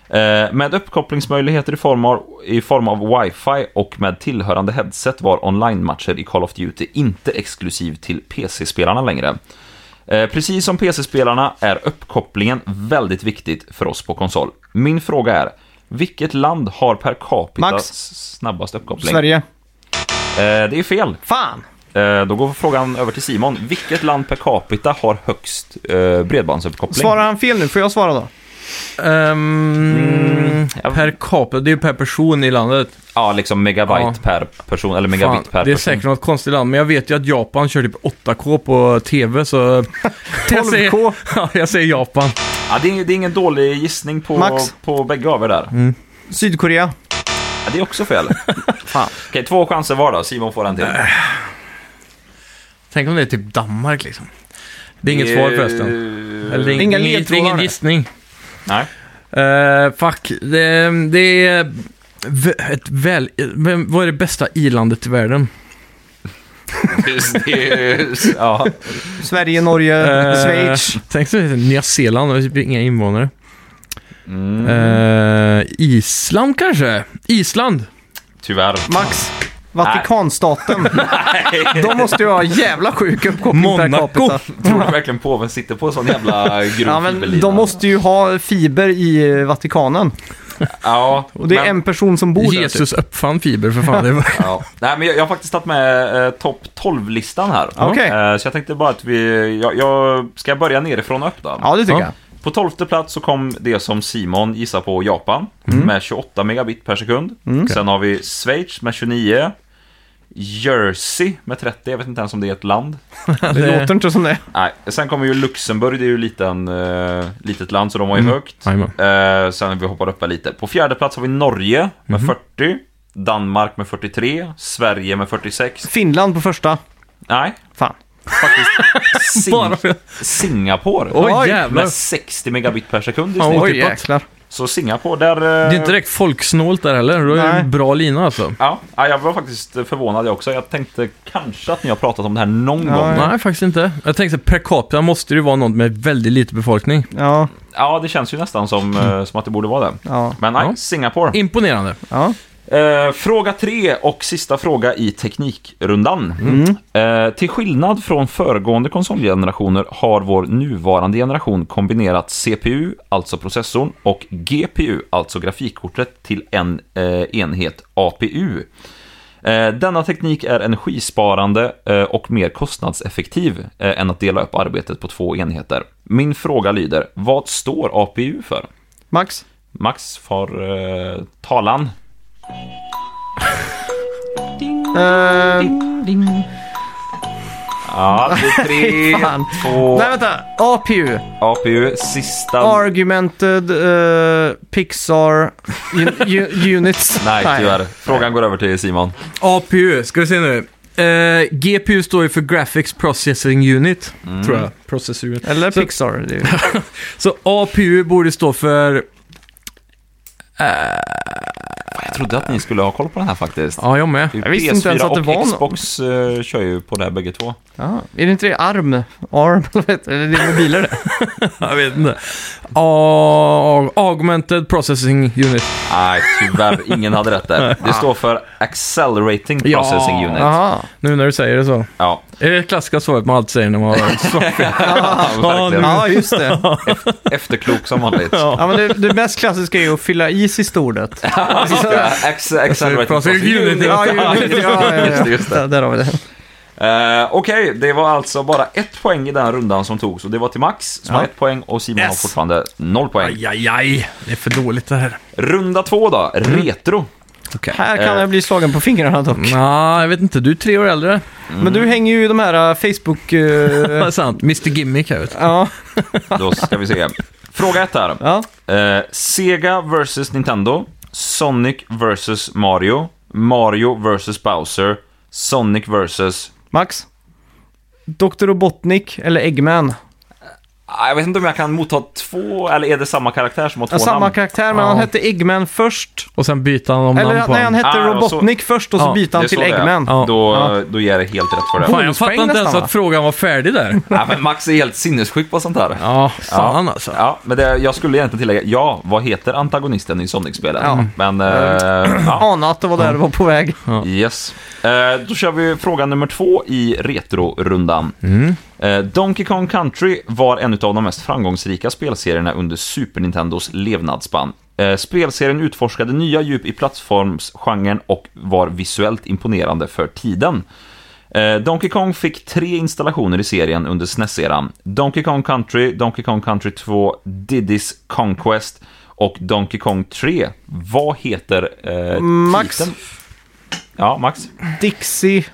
C: Eh, med uppkopplingsmöjligheter i form, av, i form av wifi och med tillhörande headset var online-matcher i Call of Duty inte exklusiv till PC-spelarna längre. Eh, precis som PC-spelarna är uppkopplingen väldigt viktigt för oss på konsol. Min fråga är, vilket land har per capita
A: Max?
C: s- snabbast uppkoppling?
A: Sverige.
C: Eh, det är fel.
A: Fan!
C: Eh, då går frågan över till Simon. Vilket land per capita har högst eh, bredbandsuppkoppling?
A: Svarar han fel nu? Får jag svara då?
B: Ehm,
C: jag-
B: Per capita, det är ju per person i landet.
C: Ja, liksom megabyte
B: Ja.
C: per person, eller megabit per
B: det är
C: person.
B: säkert något konstigt land, men jag vet ju att Japan kör typ 8K på TV, [laughs] så...
A: 12K.
B: [laughs] ja, jag säger Japan.
C: Ja, det, är, det är ingen dålig gissning på,
A: Max? Mm.
C: på bägge av er där.
A: Sydkorea.
C: Ja, det är också fel.
A: [laughs] Fan.
C: Okej, två chanser var då. Simon får en till.
B: Tänk om det är typ Danmark liksom. Det är inget
C: Eh,
B: svar förresten. Eller, det är
A: Inga
B: ingen- det är
A: ledtrådar.
B: ingen gissning.
C: Nej.
B: Eh, fuck, det, det är... v- Ett väl, vem, vad är det bästa i-landet i världen?
C: Det är- [laughs] ja.
A: Sverige, Norge,
B: Eh,
A: Schweiz.
B: [laughs] Tänk så heter Nya Zeeland, och typ inga invånare.
C: Mm,
B: Eh, Island kanske? Island!
C: tyvärr.
A: Max.
B: [laughs]
A: Vatikanstaten. De måste ju ha jävla sjuk uppkoppling per
B: Monaco.
A: capita.
C: Tror du verkligen påven sitter på en sån jävla grov
A: [laughs] Ja, men
C: fiberlina?
A: de måste ju ha fiber i eh, Vatikanen.
C: Ja,
A: Och det är
C: men-
A: en person som bor där. Typ.
B: Jesus uppfann fiber för fan. [laughs] Det var...
C: Ja. Nej, men jag, jag har faktiskt tagit med eh, topp 12-listan här.
A: Okej.
C: Eh, så jag tänkte bara att vi... Jag, jag ska börja nerifrån och upp då.
A: Ja, det tycker
B: Ja.
A: jag.
C: På 12 plats så kom det som Simon gissar på Japan
A: Mm.
C: med 28 megabit per sekund. Sen har vi Schweiz med 29. Jersey med 30, jag vet inte ens om det är ett land.
B: [laughs]
A: Det låter inte som det.
C: Nej, sen kommer ju Luxemburg, det är ju liten, eh, litet land så de har ju
A: Mm.
C: högt.
B: Jajamän.
C: Eh, sen vi hoppar upp här lite. På fjärde plats har vi Norge med
A: Mm.
C: 40. Danmark med 43, Sverige med 46.
A: Finland på första.
C: Nej,
A: Fan.
C: Faktiskt. Sing
B: Bara för...
C: Singapore.
B: Oj,
A: Oj,
B: jävlar.
C: Med 60 megabit per sekund i
B: Ja,
C: snitt.
A: Oj,
B: oj. otippat.
A: jäklar.
C: Så Singapore, där... eh,
B: Det är inte direkt folksnålt där heller. Då är det
A: Nej.
B: en bra lina alltså.
C: Ja, ja, jag var faktiskt förvånad jag också. Jag tänkte kanske att ni har pratat om det här någon
A: Ja,
C: gång.
A: ja.
B: Nej, faktiskt inte. Jag tänkte per capita måste det ju vara något med väldigt lite befolkning.
A: Ja,
C: Ja, det känns ju
B: [clears throat]
C: nästan som, eh, som att det borde vara det.
A: ja,
C: Men nej,
B: Ja.
C: Singapore.
B: Imponerande.
A: ja.
C: Eh, fråga tre och sista fråga i Teknikrundan. Eh, till skillnad från föregående konsolgenerationer har vår nuvarande generation kombinerat CPU, alltså processorn, och GPU, alltså grafikkortet, till en eh, enhet APU. Eh, Denna teknik är energisparande eh, och mer kostnadseffektiv eh, än att dela upp arbetet på två enheter. Min fråga lyder, vad står APU för?
A: Max?
C: Max får eh, talan.
A: Eh,
C: Ja,
A: [laughs]
C: det är tre,
A: Fan.
C: två,
A: nej, vänta. APU.
C: APU, sista...
A: Argumented eh, Pixar un- u- Units.
C: [laughs] Nej, tyvärr. Frågan går över till Simon.
B: APU, ska vi se nu. Eh, GPU står ju för Graphics Processing Unit, tror jag. Processor Unit.
A: Eller
B: Så-
A: Pixar. Det är,
C: [laughs]
B: Så APU borde stå för...
C: Jag trodde att ni skulle ha koll på den här faktiskt.
B: Ja, jag med.
A: Jag visste inte ens att det var
C: och
A: någon.
C: Xbox eh, kör ju på det här bägge två.
A: ja. är det inte det? ARM? ARM? [laughs] eller vad heter det? Eller det är mobiler
C: [laughs]
A: det.
B: [laughs] Jag vet inte. A- augmented Processing Unit.
C: Nej, tyvärr. Ingen hade rätt där. Det står för Accelerating
B: Ja.
C: Processing Unit.
A: Jaha.
B: Nu när du säger det så.
C: Ja,
B: Är det klassiska svaret man alltid säger när man har [laughs]
C: verkligen.
A: Ja, just det.
C: [laughs] Efterklok som vanligt.
A: Ja, men det, det mest klassiska är ju att fylla is i
C: [laughs]
A: storordet.
C: Ex-
B: Processing
C: Accelerating Processing
B: Unit.
C: Unit.
A: Ja, ju- ja, ja, ja.
C: Just det, just det.
A: Där, där har vi det.
C: Eh, Okej, det var alltså bara ett poäng i den rundan som togs. Och det var till Max som har ett poäng och Simon har
B: Yes.
C: fortfarande noll poäng.
B: Aj, aj, aj. Det är för dåligt det här.
C: Runda två då, retro.
B: Okej.
A: Här
C: Eh.
A: kan jag bli slagen på fingrarna dock.
C: Mm.
B: Nej, jag vet inte. Du är tre år äldre.
A: Men du hänger ju i de här eh, Facebook...
B: Det
A: eh,
C: [laughs]
B: är sant. Mr Gimmick här vet du.
A: ja,
C: Då ska vi se. Fråga ett här.
A: ja.
C: Eh, Sega vs Nintendo, Sonic vs Mario, Mario vs Bowser, Sonic vs...
A: Max? Dr. Robotnik eller Eggman?
C: Ah, Jag vet inte om jag kan motta två, eller är det samma karaktär som har två
A: Ja, samma
C: namn?
A: karaktär, men
B: Ja.
A: han hette Eggman först.
B: Och sen byter han om
A: Eller
B: namn på
A: nej, han
B: honom.
A: hette
C: Ah,
A: Robotnik först och så
B: Ja,
A: byter
C: Det
A: han
C: är så
A: till
C: det är.
A: Eggman.
B: Ja.
C: Då,
A: Ja.
C: då ger det helt rätt för det.
B: Fan, jag fattar
A: bonuspoäng
B: inte ens
A: nästan,
B: att frågan var färdig där.
C: Ja, men Max är helt sinnessjuk på sånt här.
B: Ja, fan alltså.
C: Ja, men det, jag skulle egentligen tillägga, ja, vad heter antagonisten i Sonic-spelen?
A: Ja.
C: Men, eh, ja.
A: Ana att det var där det var på väg.
C: Yes. Eh, då kör vi fråga nummer två i retrorundan. Eh, Donkey Kong Country var en av de mest framgångsrika spelserierna under Super Nintendos levnadsspann. Eh, spelserien utforskade nya djup i plattformsgenren och var visuellt imponerande för tiden. Eh, Donkey Kong fick tre installationer i serien under SNES-eran. Donkey Kong Country, Donkey Kong Country 2, Diddy's Conquest och Donkey Kong 3. Vad heter eh,
A: Max?
C: titeln? Ja, Max.
A: Dixie...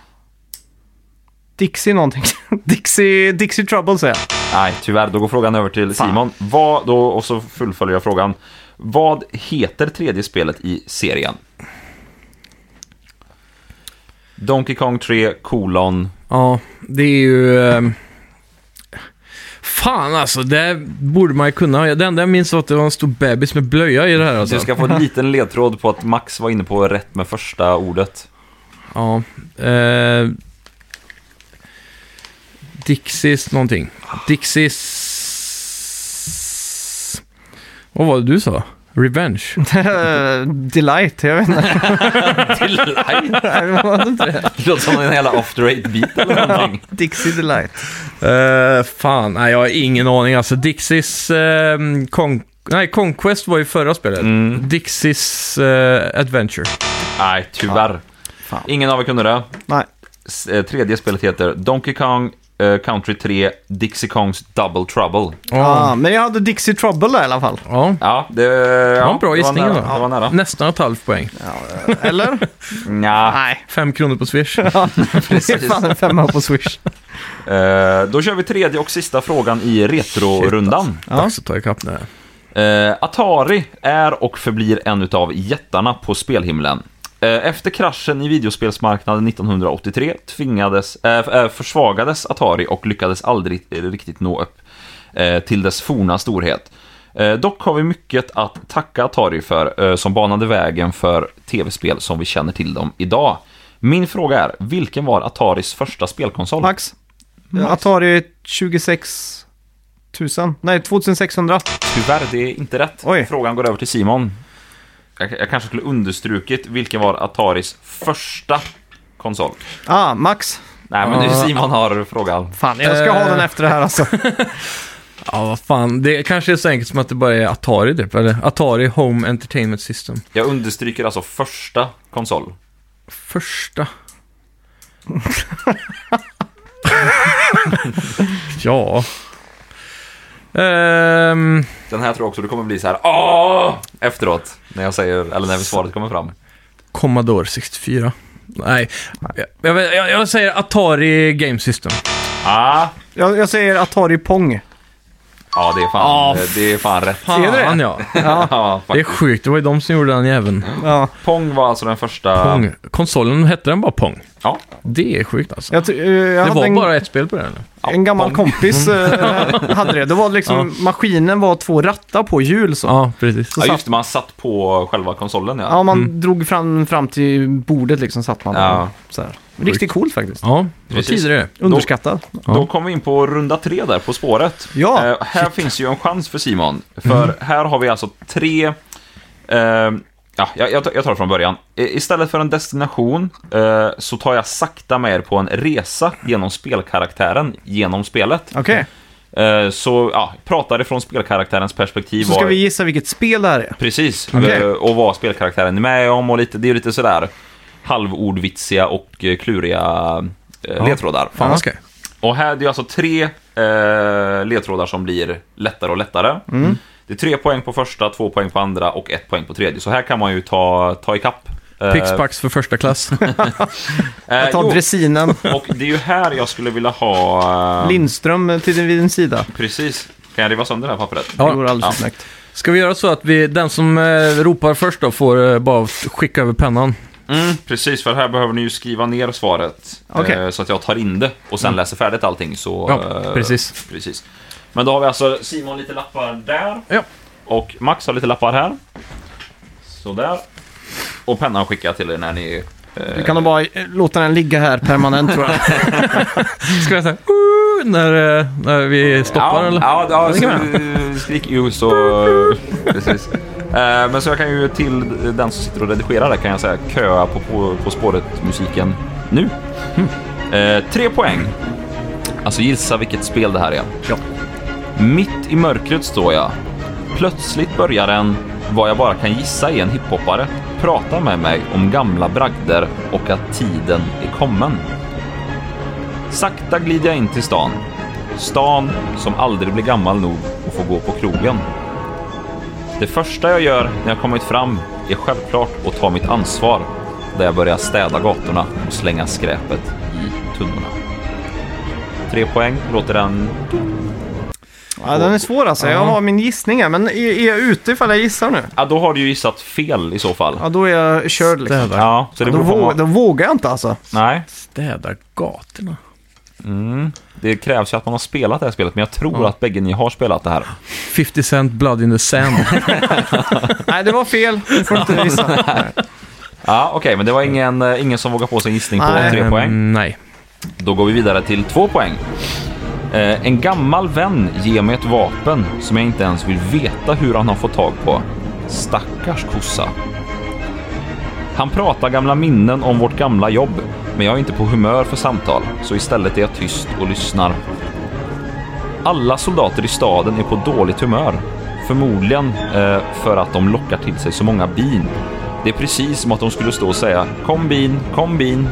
A: Dixie någonting. [laughs] Dixie, Dixie Trouble säger jag.
C: Nej, tyvärr. Då går frågan över till Simon. Vad då, och så fullföljer jag frågan. Vad heter tredje spelet i serien? Donkey Kong 3, kolon...
B: Ja, det är ju... ehm, Fan alltså, det borde man ju kunna. Det enda jag minns var att det var en stor bebis med blöja i det här alltså.
C: Du ska få [laughs] en liten ledtråd på att Max var inne på rätt med första [laughs] ordet.
B: Ja. Eh, Dixies någonting. Dixies... Vad var det du sa? Revenge?
A: Eh, [laughs] Delight, jag vet inte.
C: Delight?
A: Nej, det var inte det.
C: Det låter som en jävla after eight-beat eller någonting.
A: Dixie Delight.
B: Eh, fan, nej jag har ingen aning alltså. Dixies... Eh, Con- nej, Conquest var ju förra spelet. Dixies eh, Adventure.
C: Nej, tyvärr.
A: Fan.
C: Ingen av er kunde det.
A: Nej.
C: S- eh, Tredje spelet heter Donkey Kong eh, Country 3, Dixie Kongs Double Trouble.
A: Ah, men jag hade Dixie Trouble där i alla fall.
B: Ja.
C: Ja, det,
B: Det var
C: ja,
B: en bra gissning
C: nära.
B: ändå.
C: Det var nära.
B: Nästan ett halvt poäng.
A: Eller?
C: [laughs] Nja.
A: Nej.
B: Fem kronor på Swish.
C: [laughs]
A: Ja, det är fan en femma på Swish.
C: Eh, då kör vi tredje och sista frågan i retrorundan.
A: Ja.
B: Dags att ta ikapp nu.
C: Eh, Atari är och förblir en utav jättarna på spelhimlen. Eh, Efter kraschen i videospelsmarknaden 1983 tvingades, eh, f- eh, försvagades Atari och lyckades aldrig eh, riktigt nå upp eh, till dess forna storhet. Eh, Dock har vi mycket att tacka Atari för, eh, som banade vägen för tv-spel som vi känner till dem idag. Min fråga är, vilken var Ataris första spelkonsol?
A: Max. Atari 26 000. Nej, 2600.
C: Tyvärr, det är inte rätt.
A: Oj.
C: Frågan går över till Simon. Jag, jag kanske skulle understrukit, vilken var Ataris första konsol?
A: Ah, Max.
C: Nej, men nu Simon har frågan.
A: Fan, jag ska ha
B: Eh.
A: den efter det här alltså.
B: Ja, vad fan. Det kanske är så enkelt som att det bara är Atari typ, eller? Atari Home Entertainment System.
C: Jag understryker alltså första konsol.
B: Första. [laughs] ja. Ehm,
C: Den här tror jag också du kommer bli så här Åh! efteråt. När jag säger, eller när svaret kommer fram.
B: Commodore 64. Nej, jag, vet- jag, jag säger Atari Game System.
C: Ah,
A: [laughs] Jag, jag säger Atari Pong.
C: ja, det är fan,
B: Ah,
C: det är fan rätt.
A: Är det
B: Fan,
A: det?
B: ja.
A: Ja,
C: Ja, fuck.
B: Det är sjukt, det var ju de som gjorde den jäveln.
A: ja.
C: Pong var alltså den första...
B: Pong. Konsolen, hette den bara Pong?
C: Ja.
B: Det är sjukt alltså.
A: Jag, tr- eh, jag
B: Det
A: hade
B: var
A: en,
B: bara ett spel på den. eller?
A: en gammal
C: Pong.
A: kompis [laughs] eh, hade det. Det var liksom, maskinen var två rattar på hjul så.
B: Ja, precis.
C: Ja, just det, man satt på själva konsolen ja.
A: Ja, man drog fram, fram till bordet liksom, satt man
C: Ja.
A: där. så här. Riktigt coolt faktiskt.
B: Ja, det var
C: Precis.
B: tidigare.
A: Underskattad.
B: Ja.
C: Då kommer vi in på runda tre där, På spåret.
A: Ja. Mm.
C: Eh, här finns ju en chans för Simon. För här har vi alltså tre... Eh, ja, jag, jag tar- jag tar det från början. I- Istället för en destination eh, så tar jag sakta med er på en resa genom spelkaraktären, genom spelet.
A: Okej,
C: Eh, så ja, pratar ifrån spelkaraktärens perspektiv.
A: så ska
C: vad-
A: vi gissa vilket spel det här är.
C: Precis,
A: Okej.
C: Eh, och vad spelkaraktären är med om och lite, det är ju lite sådär halvordvitsiga och eh, kluriga eh, ledtrådar.
B: Fan vad skoj.
C: Och här, det är alltså tre eh, ledtrådar som blir lättare och lättare. Det är tre poäng på första, två poäng på andra och ett poäng på tredje. Så här kan man ju ta, ta ikapp. Eh,
B: Pixpax för
A: [laughs]
B: första klass.
A: Jag
C: eh,
A: tar
C: jo,
A: dressinen.
C: och det är ju här jag skulle vilja ha... eh,
A: Lindström eh, till din, vid din sida.
C: Precis. Kan jag riva sönder det här pappret?
A: Det går alldeles utmärkt.
B: Ska vi göra så att vi, den som eh, ropar först då får eh, bara skicka över pennan?
C: Mm, precis, för här behöver ni ju skriva ner svaret.
A: Okej.
C: Eh, så att jag tar in det och sen läser färdigt allting. Så,
B: Mm. Ja,
C: eh,
B: precis.
C: precis. Men då har vi alltså Simon lite lappar där.
B: Ja.
C: Och Max har lite lappar här. Sådär. Och pennan skickar jag till er när ni...
A: Du kan nog bara eh, låta den ligga här permanent tror jag.
B: Ska jag säga "Ooh", när, eh, när vi stoppar eller?
C: Ja, ja,
B: Det kan
C: ja
B: vi
C: så, skrik ju så... precis. Eh, men så jag kan ju till den som sitter och redigerar där kan jag säga köa på På, på spåret-musiken nu. Eh, tre poäng. Alltså gissa vilket spel det här är.
A: Ja.
C: Mitt i mörkret står jag. Plötsligt börjar en, vad jag bara kan gissa är en hiphoppare, prata med mig om gamla bragder och att tiden är kommen. Sakta glider jag in till stan. Stan som aldrig blir gammal nog och får gå på krogen. Det första jag gör när jag kommit fram är självklart att ta mitt ansvar där jag börjar städa gatorna och slänga skräpet i tunnorna. Tre poäng, låter den...
A: [laughs] Ja, den är svår alltså. Jag
B: Ja.
A: har min gissning här, men är, är jag ute ifall jag gissar nu?
C: Ja, då har du ju gissat fel i så fall.
A: Ja, då är jag körd liksom.
B: Städar,
C: Ja, så det
A: Då,
C: beror på
A: vå-
C: vad-
A: då vågar jag inte alltså.
C: Nej,
B: städar gatorna.
C: det krävs ju att man har spelat det här spelet, men jag tror att bägge ni har spelat det här.
B: 50 Cent Blood in the Sand.
A: [laughs] Nej, det var fel. Du får
C: [laughs]
A: inte gissa.
C: Ja, okej, men det var ingen, eh, ingen som vågar på sig en gissning på
A: Nej.
C: tre poäng.
B: Mm, nej.
C: Då går vi vidare till två poäng. Eh, en gammal vän ger mig ett vapen som jag inte ens vill veta hur han har fått tag på. Stackars kossa. Han pratar gamla minnen om vårt gamla jobb, men jag är inte på humör för samtal, så istället är jag tyst och lyssnar. Alla soldater i staden är på dåligt humör. Förmodligen eh, för att de lockar till sig så många bin. Det är precis som att de skulle stå och säga “Kom bin, kom bin”.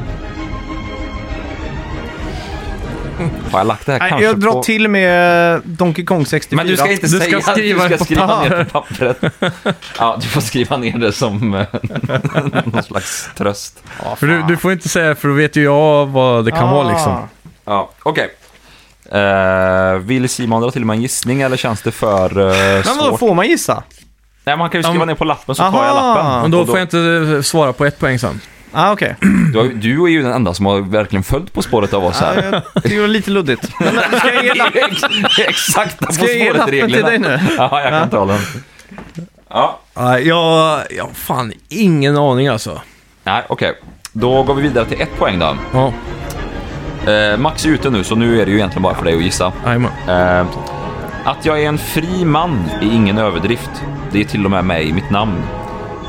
C: Har jag lagt det här
A: Nej,
C: kanske
A: jag drar
C: på...
A: till med eh, Donkey Kong 64.
C: Men du ska inte
B: Du
C: säga
B: ska skriva
C: du
B: det
C: ska
B: på
C: skriva ner
B: papper.
C: på pappret. Ja, du får skriva ner det som eh, [laughs] någon slags tröst.
B: För du, du får inte säga för då vet ju jag vad
A: Ah.
B: det kan vara
C: Ah.
B: liksom.
C: Ja, okej. Eh, vill Simon dra till med en gissning eller känns det för eh,
A: Men vadå,
C: svårt?
A: får man gissa?
C: Nej, man kan ju skriva
B: Om-
C: ner på lappen så tar
A: Aha.
C: jag lappen.
B: Men då,
C: Och
B: får jag inte eh, svara på ett poäng sen.
A: Ah, okej.
C: du, har- du är ju den enda som har verkligen följt På spåret av oss
A: Ah,
C: [laughs] här.
A: jag tycker det var lite luddigt.
C: [laughs]
A: Men, men, ska jag ge lappen,
C: Exakta På
A: ska jag ge lappen till dig
C: spåret-reglerna.
A: nu?
C: [laughs] Ja, jag kan ta den. Ja,
B: Nej, jag, jag har fan ingen aning alltså.
C: nej, okej. Då går vi vidare till ett poäng då.
B: Ja,
C: Eh, Max är ute nu, så nu är det ju egentligen bara för dig att gissa.
B: jajamän.
C: Eh, att jag är en fri man är ingen överdrift. Det är till och med med i mitt namn.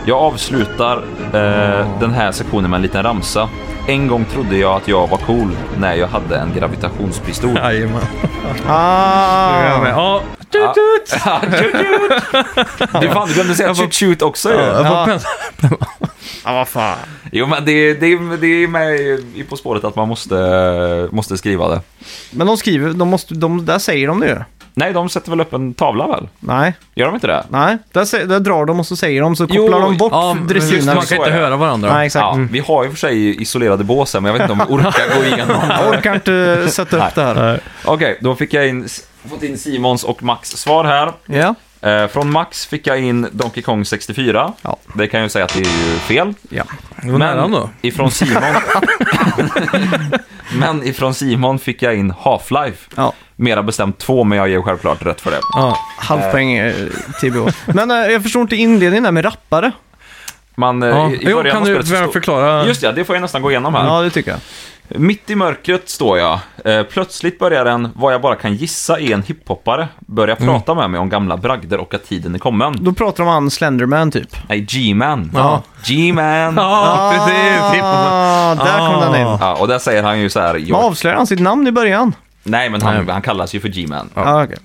C: Jag avslutar eh, den här sektionen med en liten ramsa. En gång trodde jag att jag var cool när jag hade en
A: [laughs]
C: gravitationspistol.
B: Jajamän.
A: Ah.
B: Ja, tut, tut.
C: Du, fan, du glömde säga shoot shoot också ju.
B: Jag får
A: Ja.
B: pens-
A: ah, vad fan.
C: Jo, men det, det, det är med i På spåret att man måste, måste skriva det.
A: Men de skriver, de måste, de, där säger de det ju.
C: Nej, de sätter väl upp en tavla väl?
A: Nej,
C: Gör de inte det?
A: nej. Där, sä- där drar de och så säger de, så
C: Jo,
A: kopplar de bort
B: Ja, men just,
A: dressinen.
B: man kan
C: så
B: inte
C: är det.
B: höra varandra.
A: Nej, exakt. Mm.
C: Ja, Vi har ju för sig isolerade bås här, men jag vet inte om vi orkar gå
A: [laughs]
C: igenom.
A: Jag orkar [laughs] inte sätta
C: Nej.
A: upp det här.
C: Okej, då fick jag in, fått in Simons och Max svar här.
A: Ja,
C: Eh, från Max fick jag in Donkey Kong 64.
A: Ja.
C: Det kan jag ju säga att det är ju fel.
A: ja.
B: Det var nära ändå.
C: ifrån Simon...
B: [laughs]
C: men ifrån Simon fick jag in Half-Life.
A: ja.
C: Mera bestämt två, men jag ger självklart rätt för det.
B: Ja.
A: Halvpoäng eh, [laughs] TBO. Men eh, jag förstår inte inledningen där med rappare.
C: Man, eh,
B: Ja.
C: i, i
B: Jo,
C: början
B: kan
C: av
B: du
C: spelet så
B: väl
C: stod-
B: förklara?
C: Just ja, det får jag nästan gå igenom här.
A: Ja, det tycker jag.
C: Mitt i mörkret står jag. Eh, Plötsligt börjar en, vad jag bara kan gissa är en hiphoppare, börja
B: Mm.
C: prata med mig om gamla bragder och att tiden är kommen.
A: Då pratar de om han Slenderman typ.
C: Nej, G-Man.
B: Ja.
C: G-Man.
B: Ja, precis. Hiphop.
A: Ah, där kom den in.
B: Ah.
C: Ja, och där säger han ju så här.
A: Men
C: Jag...
A: avslöjar han sitt namn i början?
C: Nej, men han,
B: Nej.
C: han kallas ju för G-Man.
A: Ja,
C: Ja.
A: ah, okej.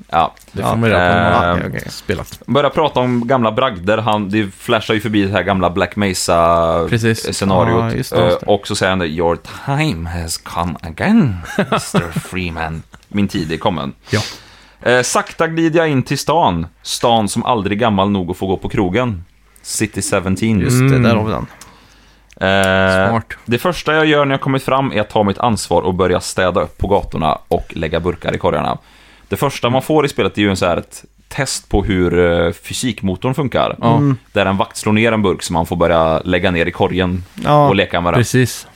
B: Det får man reda på när man
A: Ah,
C: Ehm,
A: okej, okej.
B: spelat.
C: Börjar prata om gamla bragder. Han, det flashar ju förbi det här gamla Black
B: Precis.
C: Mesa-scenariot.
A: Ja, just det, just det.
C: och så säger han det, Your time has come again, Mr. Freeman. Min tid är kommen.
B: Ja.
C: Eh, sakta glider jag in till stan. Stan som aldrig är gammal nog att få gå på krogen. City 17.
A: Just det, där har vi den.
C: Eh,
B: Smart.
C: Det första jag gör när jag kommit fram är att ta mitt ansvar och börja städa upp på gatorna och lägga burkar i korgarna. Det första man får i spelet är ju en så här ett test på hur eh, fysikmotorn funkar. Där en vakt slår ner en burk som man får börja lägga ner i korgen
A: Ja.
C: och leka med den.
B: Precis.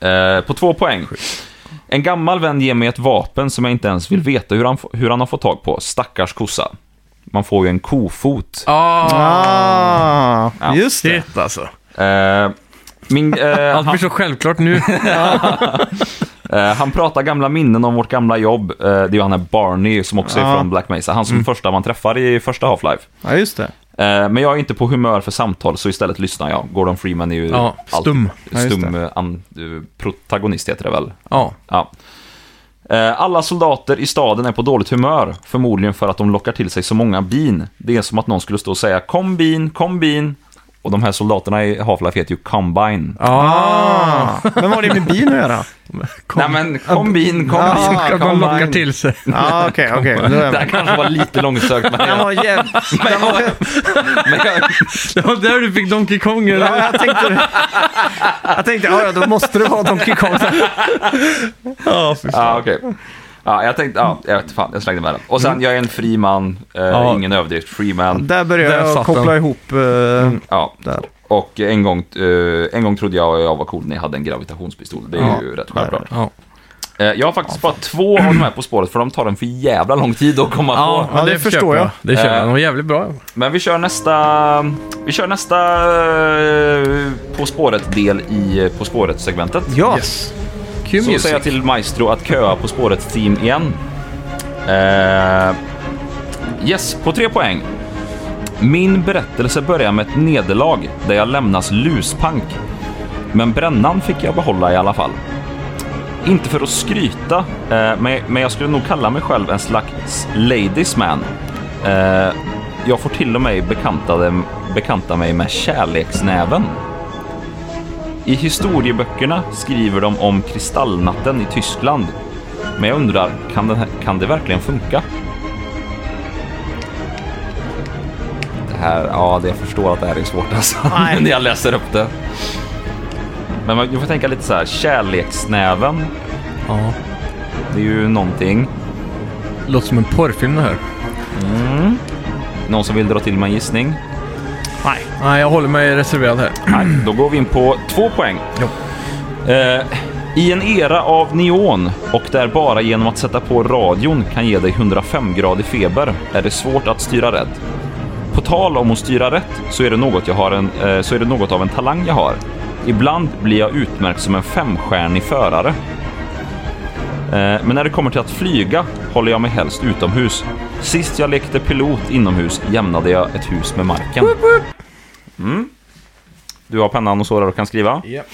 C: Eh, på två poäng. En gammal vän ger mig ett vapen som jag inte ens vill veta hur han, hur han har fått tag på. Stackars kossa. Man får ju en kofot.
A: Ah,
C: Ja.
A: just det.
B: Shit alltså.
C: Eh,
B: [laughs]
C: min, eh,
B: Allt
C: han,
B: blir så självklart [laughs] nu.
C: eh, han pratar gamla minnen om vårt gamla jobb. Eh, det är ju han här Barney som också är
A: Ja.
C: från Black Mesa. Han som
B: Mm.
C: första man träffar i första Half-Life.
A: Ja, just det.
C: Eh, men jag är inte på humör för samtal så istället lyssnar jag. Gordon Freeman är ju
B: Ja, stum.
A: Ja, just
C: stum eh, an, eh, protagonist heter det väl.
B: Ja.
C: Ja. Eh, Alla soldater i staden är på dåligt humör, förmodligen för att de lockar till sig så många bin. Det är som att någon skulle stå och säga “Kom bin, kom bin” och de här soldaterna i Half-Life heter ju Combine.
B: Ah.
A: Ah. Men vad har det med bin att [laughs] göra?
B: Kom.
C: Nej men, kom bin, kom
A: Ah,
C: bin,
B: Klart de
C: combine.
B: lockar till sig.
A: Ja, Ah, okej, okej. Då [laughs] är jag
C: Det här
A: med.
C: kanske var lite långsökt,
A: [laughs]
C: men,
A: Den var jäv... Den var...
C: men jag,
B: Det var där du fick Donkey Kong. eller?
A: Ja, jag tänkte... Jag tänkte, ja, ja, då måste det vara Donkey Kong.
B: [laughs] Ja, fy fan.
C: Ja, okej. Ja, jag tänkte, ja, jag vet fan, jag slängde med den. Och sen, jag är en fri man, eh,
B: Ja.
C: ingen överdrift, free man.
A: Där började
B: Där
A: jag
B: satt
A: koppla
B: den. Mm.
A: ihop... eh,
C: Ja.
A: Där.
C: Och en gång, eh, en gång trodde jag jag var cool när jag hade en gravitationspistol. Det är
A: Ja.
C: ju rätt självklart.
B: Ja.
C: Eh, Jag har faktiskt bara två av de här på spåret för de tar en för jävla lång tid att komma
B: Ja,
C: på.
A: Ja,
B: men
A: det
B: det
A: förstår
B: köper
A: jag.
B: Det köper
C: Eh.
B: jag. De var jävligt bra.
C: Men vi kör nästa... Vi kör nästa eh, På spåret-del i eh, På spåret-segmentet.
A: Ja.
B: Kul
C: Så
B: music.
C: säger jag till Maestro att köa På spåret-team igen. Eh, yes, på tre poäng. Min berättelse börjar med ett nederlag där jag lämnas luspank. Men brännan fick jag behålla i alla fall. Inte för att skryta, eh, men, men jag skulle nog kalla mig själv en slags ladies man. Eh, jag får till och med bekanta, bekanta mig med kärleksnäven. I historieböckerna skriver de om kristallnatten i Tyskland. Men jag undrar, kan, den här, kan det verkligen funka? Det här, ja, det jag förstår att det här är svårt alltså. [laughs]
A: Nej.
C: När jag läser upp det. Men man, jag får tänka lite så här, kärleksnäven,
B: Ja.
C: det är ju någonting.
B: Låter som en porrfilm det här.
C: Någon som vill dra till med en gissning?
A: Nej.
B: Nej, jag håller mig reserverad här.
C: Nej, då går vi in på två poäng.
B: Jo.
C: Eh, I en era av neon och där bara genom att sätta på radion kan ge dig 105-gradig feber är det svårt att styra rätt. På tal om att styra rätt så är det något, jag har en, eh, så är det något av en talang jag har. Ibland blir jag utmärkt som en femstjärnig förare. Eh, Men när det kommer till att flyga håller jag mig helst utomhus. Sist jag lekte pilot inomhus jämnade jag ett hus med marken. Mm. Du har pennan och så där och kan skriva.
B: Japp.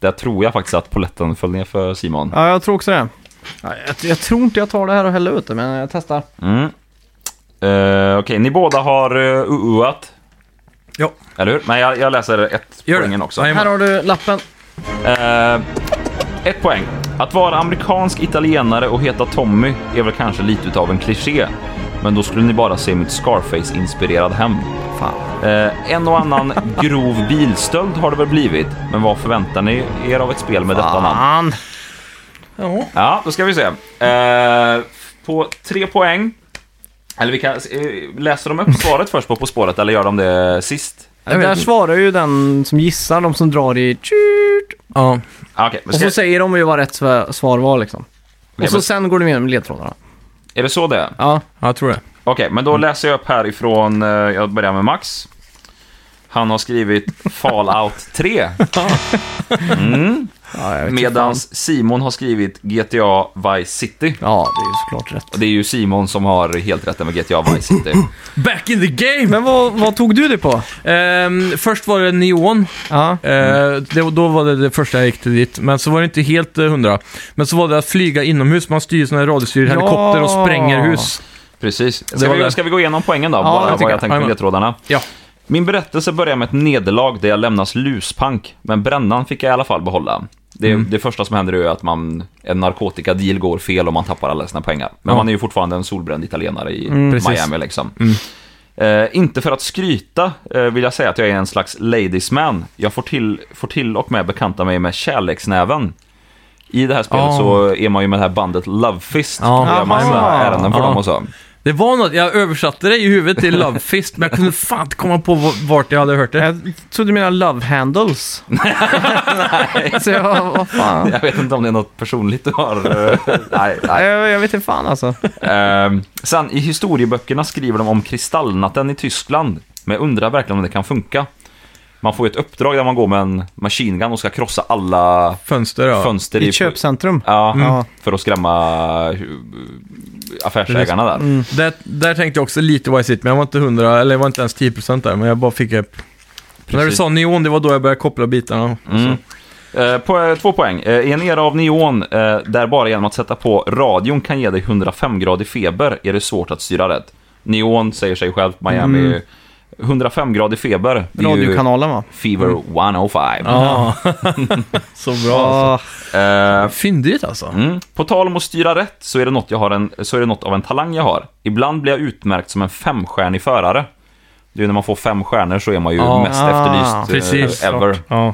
C: Där tror jag faktiskt att poletten föll ner för Simon.
A: Ja, jag tror också det. Ja, Jag, jag tror inte jag tar det här och häller ut det, men jag testar.
C: Mm. Eh, Okej, ni båda har uh, uuat.
B: Ja.
C: Eller hur? Men jag, jag läser ett
B: Gör det.
C: poängen också.
B: Nej,
A: Här har du lappen.
C: Eh, ett poäng. Att vara amerikansk italienare och heta Tommy är väl kanske lite utav en kliché. Men då skulle ni bara se mitt Scarface-inspirerad hem.
A: Fan.
C: Eh, en och annan [laughs] grov bilstöld har det väl blivit. Men vad förväntar ni er av ett spel med detta
A: Fan.
C: namn?
B: Ja.
C: Ja, då ska vi se. Eh, på tre poäng. Eller vi kan, eh,
A: [laughs]
C: läser de upp svaret först på På spåret eller gör de det sist?
B: vet
A: Där
B: inte.
A: svarar ju den som gissar, de som drar i tjut.
B: ja.
C: Ah, Okej, men
A: Och så
C: ska,
A: säger de ju vad rätt sva- svar var liksom. Och så
C: men-
A: sen går du med med ledtrådarna.
C: är det så det är?
A: Ja.
B: jag tror det.
C: Okej, men
A: Mm.
C: då läser jag upp härifrån, eh, jag börjar med Max. Han har skrivit Fallout [laughs] 3. Mm.
A: Ja, jag vet inte
C: Medan
A: fan.
C: Simon har skrivit GTA Vice City.
A: Ja, det är ju såklart rätt.
C: Och det är ju Simon som har helt rätten med GTA Vice City.
B: Back in the game!
A: Men vad, vad tog du det på?
B: Ehm, först var det neon.
A: Ja.
B: Eh, det, då var det det första jag gick till dit. Men så var det inte helt eh, hundra. Men så var det att flyga inomhus. Man styr sån här radiostyrd
A: Ja.
B: helikopter och spränger hus.
C: Precis. Ska,
B: Det var
C: vi,
B: det.
C: ska vi gå igenom poängen då?
A: Ja, det
C: bara,
A: tycker jag.
C: vad jag tänkte med
B: Jajamän.
C: ledtrådarna.
B: Ja.
C: Min berättelse börjar med ett nederlag där jag lämnas luspank, men brännan fick jag i alla fall behålla. Det, det första som händer är ju att man, en narkotikadeal går fel och man tappar alla sina pengar. Men
B: Ja.
C: man är ju fortfarande en solbränd italienare i
B: precis.
C: Miami liksom. Eh, inte för att skryta eh, vill jag säga att jag är en slags ladiesman. Jag får till, får till och med bekanta mig med kärleksnäven. I det här spelet
B: Ja.
C: så är man ju med det här bandet Love Fist.
B: Ja.
C: Då gör man ju såna här
A: Aha.
C: ärenden för
B: Ja.
C: dem och så.
B: Det var något, jag översatte det i huvudet [laughs] till Love Fist, men jag kunde fan inte komma på v- vart jag hade hört det.
A: Jag trodde du menade love
B: [laughs]
A: handles. Nej. [laughs] Så jag, vad fan.
C: Jag vet inte om det är något personligt du har. eh, nej, nej.
A: Jag, jag vet inte fan alltså.
C: Ehm, sen i historieböckerna skriver de om kristallnatten i Tyskland. Men jag undrar verkligen om det kan funka. Man får ju ett uppdrag där man går med en machine gun och ska krossa alla
B: Fönster, ja.
C: fönster
A: I ett köpcentrum.
C: Ja,
A: Mm.
C: för att skrämma eh, affärsägarna
A: Mm.
C: där.
B: Där, där tänkte jag också lite Vice City, men jag var inte 100, eller jag var inte ens 10% där, men jag bara fick upp. När du
C: Precis.
B: sa neon, det var då jag började koppla bitarna.
C: Mm. Eh, på, eh, två poäng. Eh, I en era av neon, eh, där bara genom att sätta på radion kan ge dig 105-gradig feber, är det svårt att styra rätt. Neon säger sig själv, Miami.
B: Mm.
C: 105-gradig feber, det är ju
A: Radiokanalen va?
C: Fever 105.
B: Mm. Ja. Så bra alltså.
A: Ja.
C: Eh,
B: Fyndigt alltså.
C: mm. På tal om att styra rätt så är, det något jag har en, så är det något av en talang jag har. Ibland blir jag utmärkt som en femstjärnig förare. Det är ju när man får fem stjärnor så är man ju
B: Ja.
C: mest
A: Ah,
C: efterlyst eh,
B: precis.
C: ever.
B: Ja.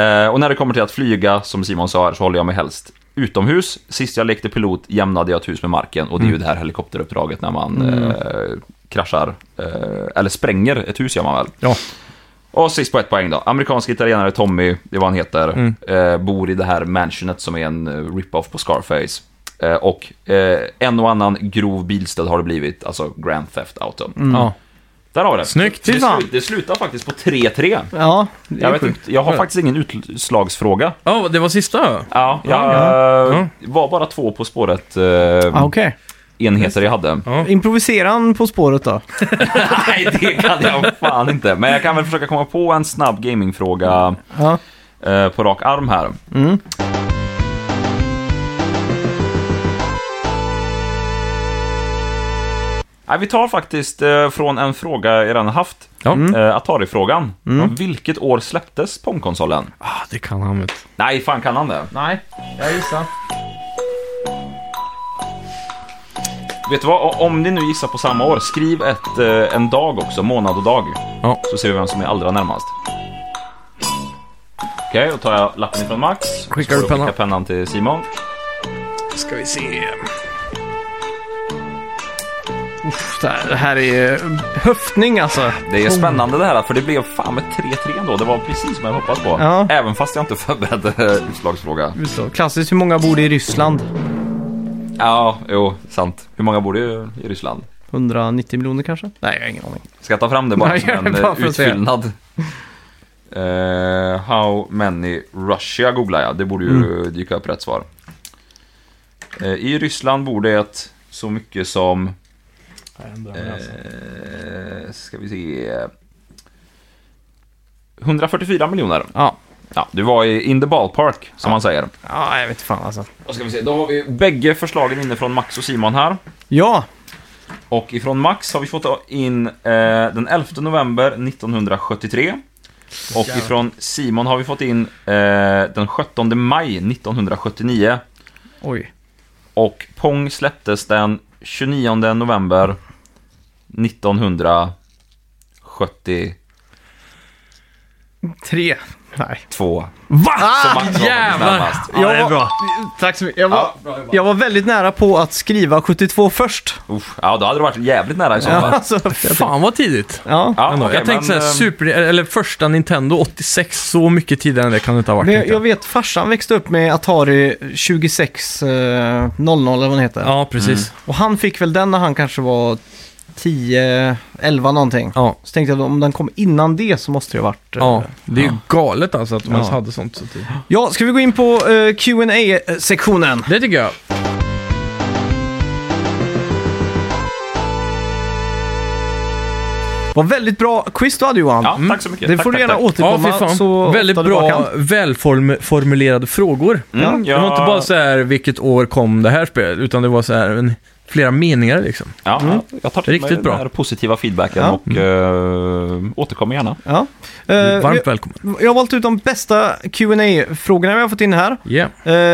C: Eh, och när det kommer till att flyga, som Simon sa, här, så håller jag mig helst utomhus. Sist jag lekte pilot jämnade jag ett hus med marken och det är
A: Mm.
C: ju det här helikopteruppdraget när man eh, kraschar, eh, eller spränger ett hus gör man väl.
B: ja.
C: Och sist på ett poäng då. Amerikansk italienare Tommy, det är vad han heter,
A: Mm.
C: eh, bor i det här mansionet som är en eh, rip-off på Scarface. Eh, och eh, en och annan grov bilstöld har det blivit, alltså Grand Theft Auto.
A: Mm.
B: ja.
C: Där har vi det.
B: Snyggt.
C: Det,
A: Fy fan.
C: slu- det slutar faktiskt på 3-3.
A: Ja, det
C: Jag,
A: är
C: vet
A: sjukt.
C: inte, jag har faktiskt ingen utslagsfråga.
B: Ja, det var sista.
C: Ja, jag
B: ja.
C: eh, var bara två på spåret eh,
A: Ah, Okej.
C: enheter jag hade.
A: Improvisera han på spåret då.
C: [laughs] Nej, det kan jag fan inte. Men jag kan väl försöka komma på en snabb gamingfråga
A: Ja.
C: eh, på rak arm här. Nej, vi tar faktiskt eh, från en fråga jag redan haft.
B: Ja. Mm.
C: Eh, Atari-frågan. Vilket år släpptes Pong-konsolen?
B: Ah, det kan han vet
C: Nej, fan kan han det?
A: Nej, jag gissar.
C: Vet du vad? O- Om ni nu gissar på samma år, skriv ett, eh, en dag också, månad och dag.
B: Ja.
C: Så ser vi vem som är allra närmast. Okej, då tar jag lappen ifrån Max.
B: Skickar
C: Så
B: du pennan?
C: Skickar pennan till Simon.
B: Ska vi se.
A: Det här- Det här är eh, höftning alltså.
C: Det är spännande det här, för det blev fan med 3-3 ändå. Det var precis som jag hoppats på.
A: Ja.
C: Även fast jag inte förberedde utslagsfråga.
A: Så, Klassiskt hur många bor det i Ryssland?
C: Ja, jo, sant. Hur många bor det i- i Ryssland?
A: 190 miljoner kanske? Nej, jag har ingen aning.
C: Ska jag ta fram det bara
A: Nej,
C: som en
A: gör det bara
C: eh,
A: för att se.
C: utfyllnad? Eh, how many Russia googlar jag. Det borde ju
A: Mm.
C: dyka upp rätt svar. Eh, I Ryssland bor det så mycket som... alltså. Eh, ska vi se... 144 miljoner.
A: Ja,
C: Ja, du var i in the ballpark, som man säger.
A: ja jag vet inte fan alltså.
C: Då ska vi se, då har vi bägge förslagen inne från Max och Simon här.
A: Ja,
C: Och ifrån Max har vi fått in eh, den 11 november 1973. Och ifrån Simon har vi fått in eh, den 17 maj 1979.
A: oj.
C: Och Pong släpptes den 29 november 1972.
A: Tre. Nej.
B: Va?
C: Så Max var
B: Jävlar!
C: närmast.
A: Jag
B: Ja, det är
A: var-
B: bra.
A: Tack så mycket. Jag var, jag var väldigt nära på att skriva 72 först.
C: Uff, ja, då hade det varit jävligt nära i så
A: Ja, [laughs]
C: fall.
A: alltså,
B: Fan vad tidigt.
A: ja.
C: Ja, okej,
B: jag tänkte såhär,
C: men, eh,
B: super, eller första Nintendo 86, så mycket tidigare än det kan det inte ha varit.
A: Men jag,
B: tänkte
A: jag
B: jag.
A: vet farsan växte upp med Atari 2600 eller vad den heter.
B: Ja, precis.
A: Och han fick väl den när han kanske var 10, 11 någonting.
B: Ja.
A: Så tänkte jag om den kom innan det så måste det ha varit... eh,
B: Ja, det är ju galet alltså att de
A: Ja.
B: ens hade sånt så tidigt.
A: ja ska vi gå in på eh, qa sektionen
B: Det tycker jag.
A: Typ Vad väldigt bra quiz du hade Johan.
B: Mm.
C: Ja, tack så mycket.
A: Det
C: tack,
A: får du
C: tack,
A: gärna
C: tack.
B: Ja,
A: återkomma
B: fy
A: så
B: fan.
A: ofta
B: Väldigt
A: du bara kan.
B: bra, välformulerade frågor.
C: Mm,
B: Det var
C: jag-
B: inte bara så här vilket år kom det här spelet, utan det var så här en, flera meningar liksom.
C: Ja, jag tar till
B: Riktigt
C: mig den
B: bra. Mm.
C: här positiva feedbacken
A: Ja.
C: och uh, återkommer gärna.
A: Ja. Eh,
B: Varmt välkommen.
A: jag, jag har valt ut de bästa qa frågorna vi har fått in här.
B: Yeah.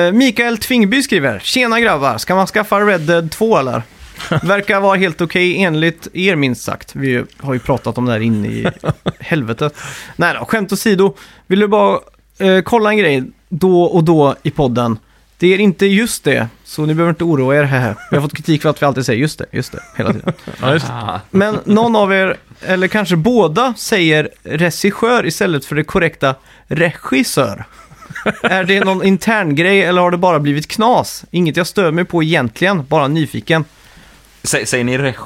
A: Eh, Mikael Tvingby skriver, Tjena grabbar, ska man skaffa Red Dead 2 eller? Verkar vara helt okej enligt er minst sagt. Vi har ju pratat om det här inne i helvetet. Nej då, skämt åsido. Vill du bara eh, kolla en grej då och då i podden. Det är inte just det, så ni behöver inte oroa er. Här. Vi har fått kritik för att vi alltid säger just det, just det, hela tiden.
B: Ja, just. det.
A: Men någon av er, eller kanske båda, säger regissör istället för det korrekta regissör. Är det någon intern grej eller har det bara blivit knas? Inget jag stör mig på egentligen, bara nyfiken.
C: Sä, säger ni rej...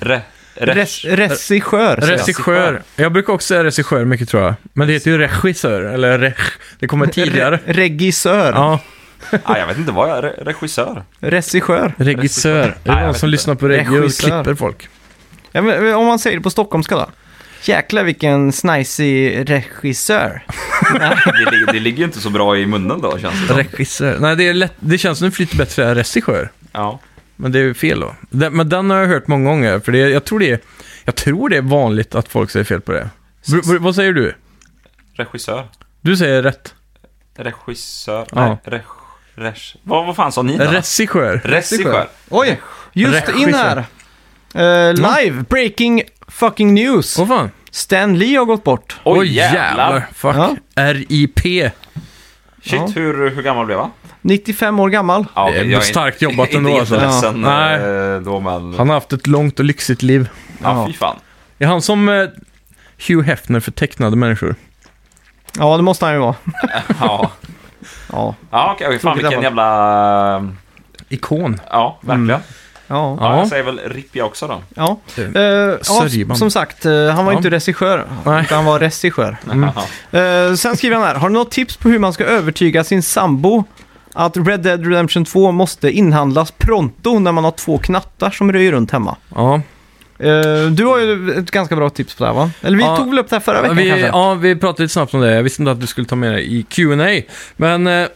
C: Re, rej-
A: Res, regissör. säger jag.
B: Regissör. Alltså, Jag brukar också säga regissör mycket tror jag. Men det heter ju regissör, eller reg...
A: [laughs]
B: Det kommer tidigare.
A: Re- regissör.
B: Ja,
C: ah, jag vet inte vad jag re, Regissör?
A: Regissör.
B: regissör. Det
C: Nej,
B: är
C: jag
B: någon
C: vet
B: som
C: inte.
B: lyssnar på reggae och
A: Regissör.
B: klipper folk.
A: Ja, men, eh, om man säger det på stockholmska då. Jäklar vilken snajsig regissör.
C: Det, ligger- det ligger ju inte så bra i munnen då, känns det som.
B: Regissör. Nej, det, är lätt... det känns som det flyter bättre att säga regissör.
C: Ja.
B: Men det är ju fel då. Den, men den har jag hört många gånger, för det, jag, tror det är, jag tror det är vanligt att folk säger fel på det. Br- br- vad säger du?
C: Regissör?
B: Du säger rätt.
C: Regissör?
B: Ja.
C: Nej, rej, rej, vad, vad fan sa ni? då?
B: Regissör.
C: Regissör?
A: Oj, just in här. Eh, live, breaking fucking news.
B: Åh fan.
A: Stan Lee har gått bort.
C: Oj, jävlar.
B: Fuck.
A: Ja.
B: RIP.
C: Shit,
A: Ja.
C: hur, hur gammal blev han?
A: 95 år gammal.
C: Ja,
B: Det är
C: okej, jag
B: starkt
C: inte-
B: jobbat ändå,
C: Inte
B: alltså.
C: jätteledsen
B: Ja. Nej.
C: eh, då, men...
B: Han har haft ett långt och lyxigt liv.
C: Ja,
B: [laughs]
C: fy fan.
B: Det är han som eh, Hugh Hefner för tecknade människor.
A: Ja, det måste han ju vara.
C: Ja,
A: Ja,
C: ja okej. fan,
A: Tråkigt
C: vilken
A: jobbat.
C: jävla...
B: Ikon.
C: Ja, verkligen.
A: Mm. ja.
C: Ja,
B: Ja.
C: jag säger väl RIP jag också då.
A: ja.
B: Mm.
A: Eh, ja
B: Sörjman.
A: som sagt, eh, han var
B: Ja.
A: inte regissör.
B: Nej.
A: utan Han var regissör.
C: [laughs] Jaha.
A: Eh, sen skriver han här, har du något tips på hur man ska övertyga sin sambo att Red Dead Redemption 2 måste inhandlas pronto när man har två knattar som röjer runt hemma?
B: Ja.
A: Eh, du har ju ett ganska bra tips på det här va? Eller vi
B: Ja.
A: tog väl upp det här förra veckan
B: Vi,
A: kanske?
B: ja, vi pratade lite snabbt om det. Jag visste inte att du skulle ta med det i Q&A Men eh,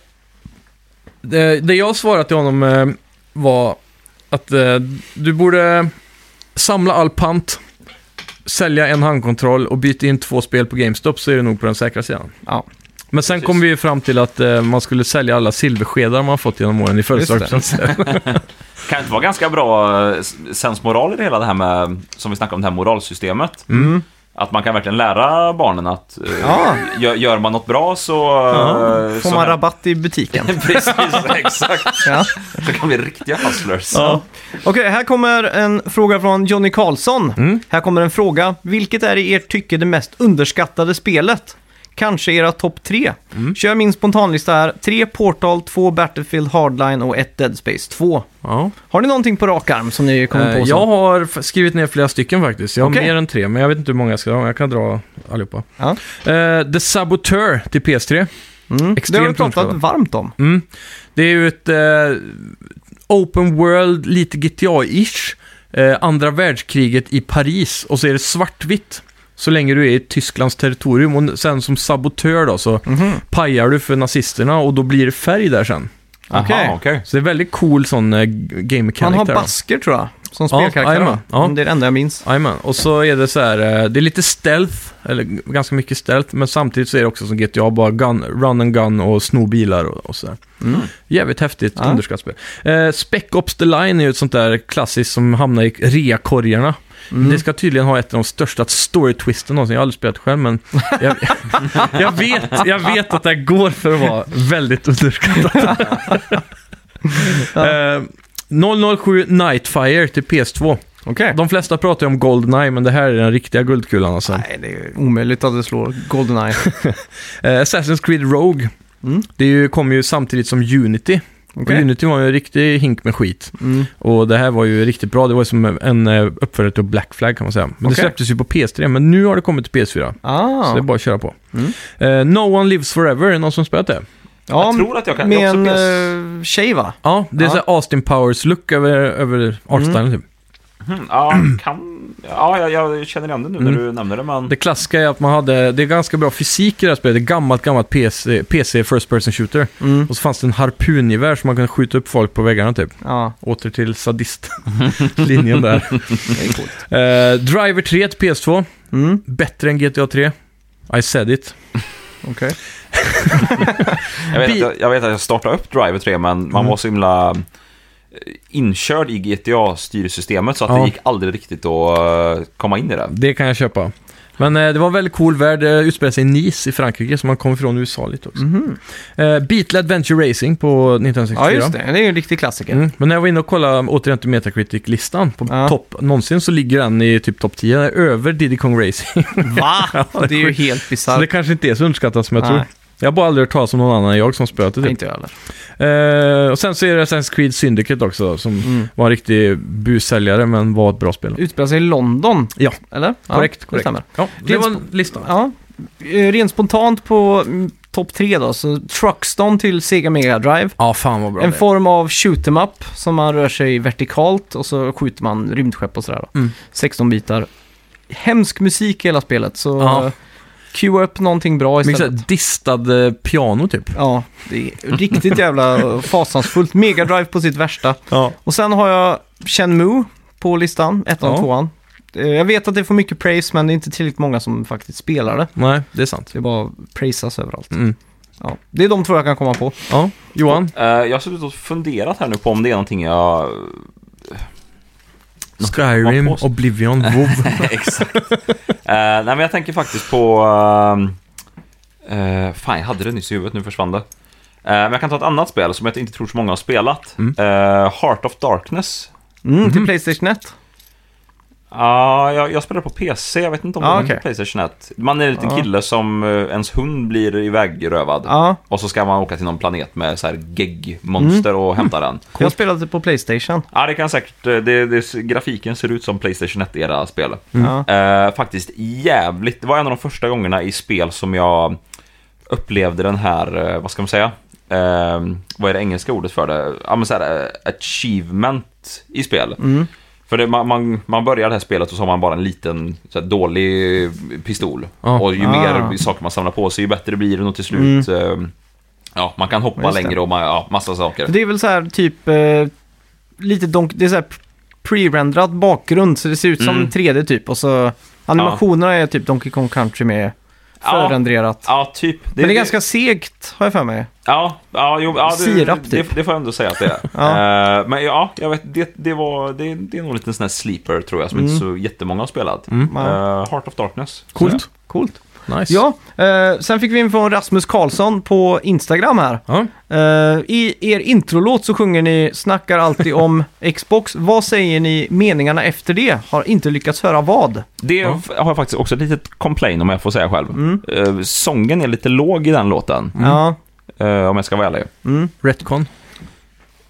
B: det, det jag svarade till honom eh, var att eh, du borde samla all pant, sälja en handkontroll och byta in två spel på GameStop så är det nog på den säkra sidan.
A: Ja.
B: Men sen
C: Precis.
B: kom vi ju fram till att eh, man skulle sälja alla silverskedar man fått genom åren i födelsedagspresent.
C: Kan det inte vara ganska bra eh, sensmoral i det hela det här med, som vi snackade om, det här moralsystemet?
B: Mm.
C: Att man kan verkligen lära barnen att eh,
A: Ja.
C: gör, gör man något bra så... eh,
A: Får
C: så
A: man rabatt i
B: [laughs]
A: butiken?
C: [laughs] Precis, exakt.
A: Ja.
C: Så kan vi bli riktiga hustlers.
A: Okej, här kommer en fråga från Johnny Karlsson.
B: Mm.
A: Här kommer en fråga. Vilket är i ert tycke det mest underskattade spelet? Kanske era topp tre.
B: Mm.
A: Kör min spontanlista här. Tre Portal, två Battlefield Hardline och ett Dead Space 2.
B: Ja.
A: Har ni någonting på rak arm som ni kommer på?
B: Eh,
A: som-
B: Jag har f- skrivit ner flera stycken faktiskt. Jag har
A: Okej.
B: mer än tre, men jag vet inte hur många jag ska ha. Jag kan dra allihopa.
A: Ja.
B: Eh, The Saboteur till PS3.
A: Mm. Det har vi
B: Extremt
A: pratat
B: underskattat.
A: varmt om.
B: Mm. Det är ju ett eh, open world, lite GTA-ish. Eh, andra världskriget i Paris och så är det svartvitt. Så länge du är i Tysklands territorium och sen som sabotör då så
A: Mhm.
B: pajar du för nazisterna och då blir det färg där sen.
C: Aha,
A: Okej.
C: okej.
B: Så det är väldigt cool sån eh, game mechanic
A: Han har
B: där då.
A: basker tror jag, som
B: Ja,
A: spelkaraktär.
B: jajamän.
A: va?
B: Ja.
A: Det är det enda jag minns.
B: Jajamän, och så är det så här, eh, det är lite stealth, eller g- ganska mycket stealth, men samtidigt så är det också som GTA, bara gun, run and gun och sno bilar och, och sådär.
A: Mm.
B: Jävligt häftigt
A: Ja.
B: underskattat spel. Eh, Spec Ops The Line är ju ett sånt där klassiskt som hamnar i reakorgarna.
A: Mm.
B: Det ska tydligen ha ett av de största story-twisten någonsin. Jag har aldrig spelat själv, men jag, [laughs] jag, vet, jag vet att det här går för att vara väldigt underskattat.
A: [laughs]
B: eh, 007 Nightfire till PS2.
A: Okej.
B: De flesta pratar ju om Goldeneye, men det här är den riktiga guldkulan alltså.
A: Nej, det är ju omöjligt att det slår
B: [laughs]
A: Goldeneye.
B: Eh, Assassin's Creed Rogue,
A: Mm.
B: det är ju, kom ju samtidigt som Unity. Och
A: Okej.
B: Unity var ju en riktig hink med skit.
A: Mm.
B: Och det här var ju riktigt bra, det var ju som en eh, uppföljare till Black Flag kan man säga. Men det
A: Okej.
B: släpptes ju på PS3, men nu har det kommit till PS4. Så
A: Ah.
B: det är bara att köra på.
A: Mm.
B: Eh, no One Lives Forever, är det någon som spelat det?
A: Ja,
C: Jag tror att jag kan...
A: med
C: jag också
A: en
C: PS...
A: eh, tjej va?
B: Ja, det är
A: Ja. Mm.
B: så här Austin Powers-look över, över artstylen typ.
C: Hmm, ja, kan... ja jag, jag känner igen det nu
A: Mm.
C: när du nämner det, men...
B: Det klassiska är att man hade, det är ganska bra fysik i det här spelet, det är gammalt, gammalt PC, PC First Person Shooter.
A: Mm.
B: Och så fanns det en harpungevär som man kunde skjuta upp folk på väggarna typ.
A: Ja.
B: Åter till [laughs]
A: [laughs]
B: sadistlinjen där. [laughs] Eh, Driver 3 till PS2.
A: Mm.
B: Bättre än GTA 3. I said it.
A: Okej.
C: Jag vet, att
B: Bi-
C: jag, jag vet att jag startade upp Driver 3, men man
B: Mm.
C: var så himla eh, inkörd i GTA-styrsystemet så att
B: Ja.
C: det gick aldrig riktigt att eh, komma in i det.
B: Det kan jag köpa. Men eh, det var en väldigt cool värld. Det utspelade sig i Nice i Frankrike, så man kom från USA lite också.
A: Mhm.
B: Eh, Beatle Adventure Racing på 1964.
A: Ja, just det. Det är ju en riktig klassiker.
B: Mm. Men när jag var inne och kollade återigen till Metacritic-listan på
A: Ja.
B: topp någonsin så ligger den i typ topp 10, över Diddy Kong Racing.
A: Va? Det är ju helt
B: [laughs] så det
A: bisarrt.
B: kanske inte är så underskattat som jag
A: Nej.
B: tror. Jag har bara aldrig hört talas om någon annan än jag som spelat det.
A: Nej,
B: Typ.
A: Inte jag heller.
B: Eh, och sen så är det Assassin's Creed Syndicate också, som
A: Mm.
B: var en riktig bussäljare men var ett bra spel.
A: Utspelar sig i London.
B: Ja.
A: Eller?
B: Korrekt,
A: ja,
B: korrekt.
A: Det stämmer.
B: Ja, det
A: Rent
B: var en lista.
A: Ja. Eh, Rent spontant på mm, topp tre då, så Truckstone till Sega Mega Drive.
B: Ja, fan vad bra
A: en
B: det är.
A: form av shoot em up som man rör sig vertikalt och så skjuter man rymdskepp och sådär. då.
B: Mm.
A: 16 bitar. Hemsk musik i hela spelet, så
B: Ja.
A: ja. cue upp någonting bra
B: Mycket
A: istället.
B: såhär distad eh, piano typ.
A: Ja, det är riktigt
B: [laughs]
A: jävla fasansfullt. Mega Drive på sitt värsta.
B: Ja.
A: Och sen har jag Shenmue på listan, ettan och
B: Ja.
A: tvåan. Eh, Jag vet att det får mycket praise, men det är inte tillräckligt många som faktiskt spelar det.
B: Nej, det är sant.
A: Det är bara praisas överallt.
B: Mm.
A: Ja, det är de två jag kan komma på.
B: Ja, Johan?
C: Eh, jag har suttit och funderat här nu på om det är någonting jag... [laughs]
B: Skyrim,
C: Vad på-
B: Oblivion, WoW. [laughs]
C: Exakt. Eh, nej, men jag tänker faktiskt på... eh, eh, fan, jag hade det nyss i huvudet, nu försvann det. Eh, men jag kan ta ett annat spel som jag inte tror så många har spelat.
B: Mm.
C: Eh, Heart of Darkness.
A: Mm, Till Playstation 1.
C: Ja, jag, jag spelar på PC, jag vet inte om
A: Ah,
C: det är
A: okej.
C: på Playstation 1. Man är en liten
A: Ja.
C: kille som eh, ens hund blir ivägrövad.
A: Ja,
C: Och så ska man åka till någon planet med så här gegg-monster
A: Mm.
C: och
A: [laughs]
C: hämta den.
A: jag spelade på Playstation.
C: Ja, det kan säkert... eh, Det, det, grafiken ser ut som Playstation 1-era spel.
A: Ja.
C: Eh, faktiskt jävligt. Det var en av de första gångerna i spel som jag upplevde den här, eh, vad ska man säga? Eh, vad är det engelska ordet för det? Ja, men så här, eh, achievement i spel.
A: Mm.
C: För det, man, man, man börjar det här spelet och så har man bara en liten så här, dålig pistol.
B: Ja.
C: Och ju
A: Ah. Mm.
C: mer saker man samlar på sig, ju bättre blir det nog till slut. Eh, ja, man kan hoppa
A: Just det.
C: längre och man, ja, massa saker.
A: För det är väl så här typ eh, lite donk, det är så här pre-renderat bakgrund så det ser ut som
C: Mm.
A: 3D typ och så animationerna är typ Donkey Kong Country med förrenderat.
C: Ja, typ.
A: Men det är ganska segt har jag för mig.
C: Ja, ja, jo, ja det,
A: Sirap, typ.
C: det, det får jag ändå säga att det
B: [laughs]
C: är. Eh, men ja, jag vet, det, det, var, det, det är nog en liten sån här sleeper tror jag, som
B: Mm.
C: inte så jättemånga har spelat. Eh, Heart of Darkness.
B: Coolt.
A: Coolt.
B: Nice.
A: Ja, eh, sen fick vi in från Rasmus Karlsson på Instagram här.
B: Ja.
A: Eh, I er introlåt så sjunger ni, snackar alltid [laughs] om Xbox. Vad säger ni meningarna efter det? Har inte lyckats höra vad?
C: Det
B: Ja. Mm.
C: f- har jag faktiskt också ett litet complain om jag får säga själv. Eh, sången är lite låg i den låten,
A: Mm. Ja, mm.
C: eh, om jag ska vara ärlig.
B: Retcon.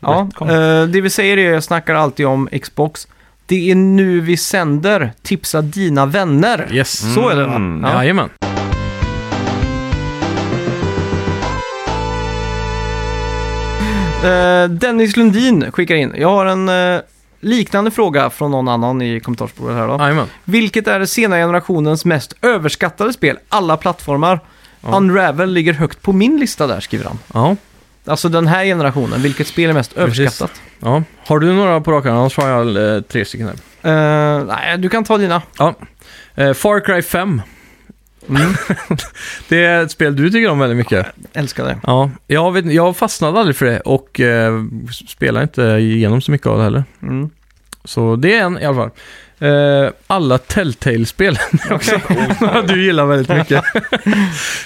A: ja.
C: Retcon.
A: Eh, det vi säger är, jag snackar alltid om Xbox. Det är nu vi sänder, tipsa dina vänner.
B: Yes.
A: Så är det va?
C: Mm.
A: Ja.
B: Jajamän.
A: Eh, Dennis Lundin skickar in. Jag har en eh, liknande fråga från någon annan i kommentarsbordet här då.
B: Jajamän.
A: Vilket är den sena generationens mest överskattade spel, alla plattformar? Unravel ligger högt på min lista där, skriver han.
B: Ja.
A: Alltså den här generationen, vilket spel är mest överskattat?
B: ja. Har du några på rak arm? Annars har jag eh, tre stycken här.
A: Eh, nej, du kan ta dina.
B: Ja. Eh, Far Cry 5. Mm. det är ett spel du tycker om väldigt mycket.
A: [laughs] Älskar det.
B: Ja, jag, vet, jag fastnade aldrig för det och eh, spelar inte igenom så mycket av det heller.
A: Mm.
B: Så det är en i alla fall. Eh, alla Telltale-spel är [laughs] också några [laughs] du gillar väldigt mycket.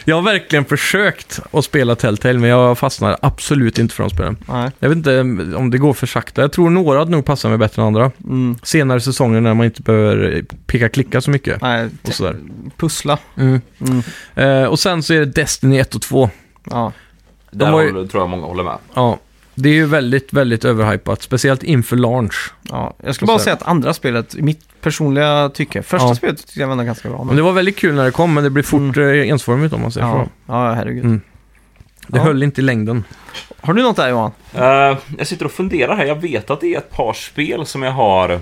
B: jag har verkligen försökt att spela Telltale, men jag fastnar absolut inte för de spelen.
A: Nej.
B: Jag vet inte om det går för sakta. Jag tror några hade nog passar mig bättre än andra.
A: Mm.
B: Senare säsonger när man inte behöver eh, peka klicka så mycket.
A: nej
B: Och
A: te-
B: sådär.
A: pussla.
B: Mm.
A: Mm.
B: Eh, och sen så är det Destiny 1 och 2.
A: Ja.
C: Där
B: De var ju-
C: håller, tror jag många håller med.
B: Ja, det är ju väldigt, väldigt överhypat. Speciellt inför launch.
A: Ja. Jag skulle bara
B: Och så-
A: säga att andra spelet, i mitt personliga tycke, första
B: Ja.
A: spelet tyckte jag var ändå ganska bra.
B: Men det var väldigt kul när det kom, men det blev fort mm. ensformigt om man säger
A: ja.
B: så.
A: ja, herregud.
B: Mm. Det
A: Ja.
B: höll inte i längden.
A: Har du något där Johan?
C: Eh, jag sitter och funderar här. Jag vet att det är ett par spel som jag har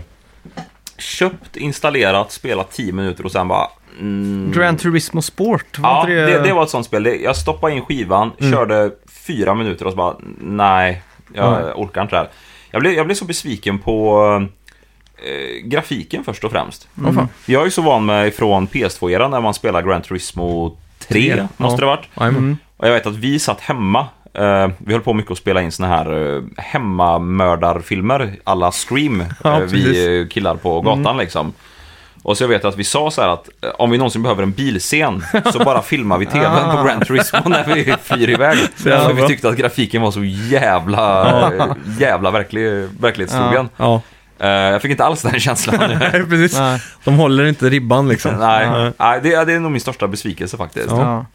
C: köpt, installerat, spelat 10 minuter och sen bara... Mm.
A: Gran Turismo Sport? Var
C: Ja,
A: inte
C: det, det var ett sånt spel. Det- Jag stoppade in skivan,
B: Mm.
C: körde fyra minuter och så bara nej, jag orkar inte det här. Jag blev, jag blev så besviken på eh, grafiken först och främst.
B: Mm. Åh, fan.
C: Jag är ju så van med från PS2-eran när man spelar Gran Turismo 3,
B: Tre,
C: måste
B: ja.
C: det varit.
B: Jajamän.
C: Och jag vet att vi satt hemma. eh, vi höll på mycket att spela in såna här eh, hemmamördarfilmer alla Scream.
B: Ja,
C: eh,
B: precis.
C: vi eh, killar på gatan liksom. Och så jag vet att vi sa så här att eh, om vi någonsin behöver en bilscen så bara filmar vi tvn på Gran Turismo när vi flyr iväg.
B: jävla
C: För vi
B: bra.
C: tyckte att grafiken var så jävla, eh, jävla verklig, verklighetstrogen.
B: Ja,
C: Eh, jag fick inte alls den känslan.
B: Nej, precis.
A: Nej.
B: De håller inte ribban liksom.
C: Nej, nej det, är- det är nog min största besvikelse faktiskt.
B: Ja.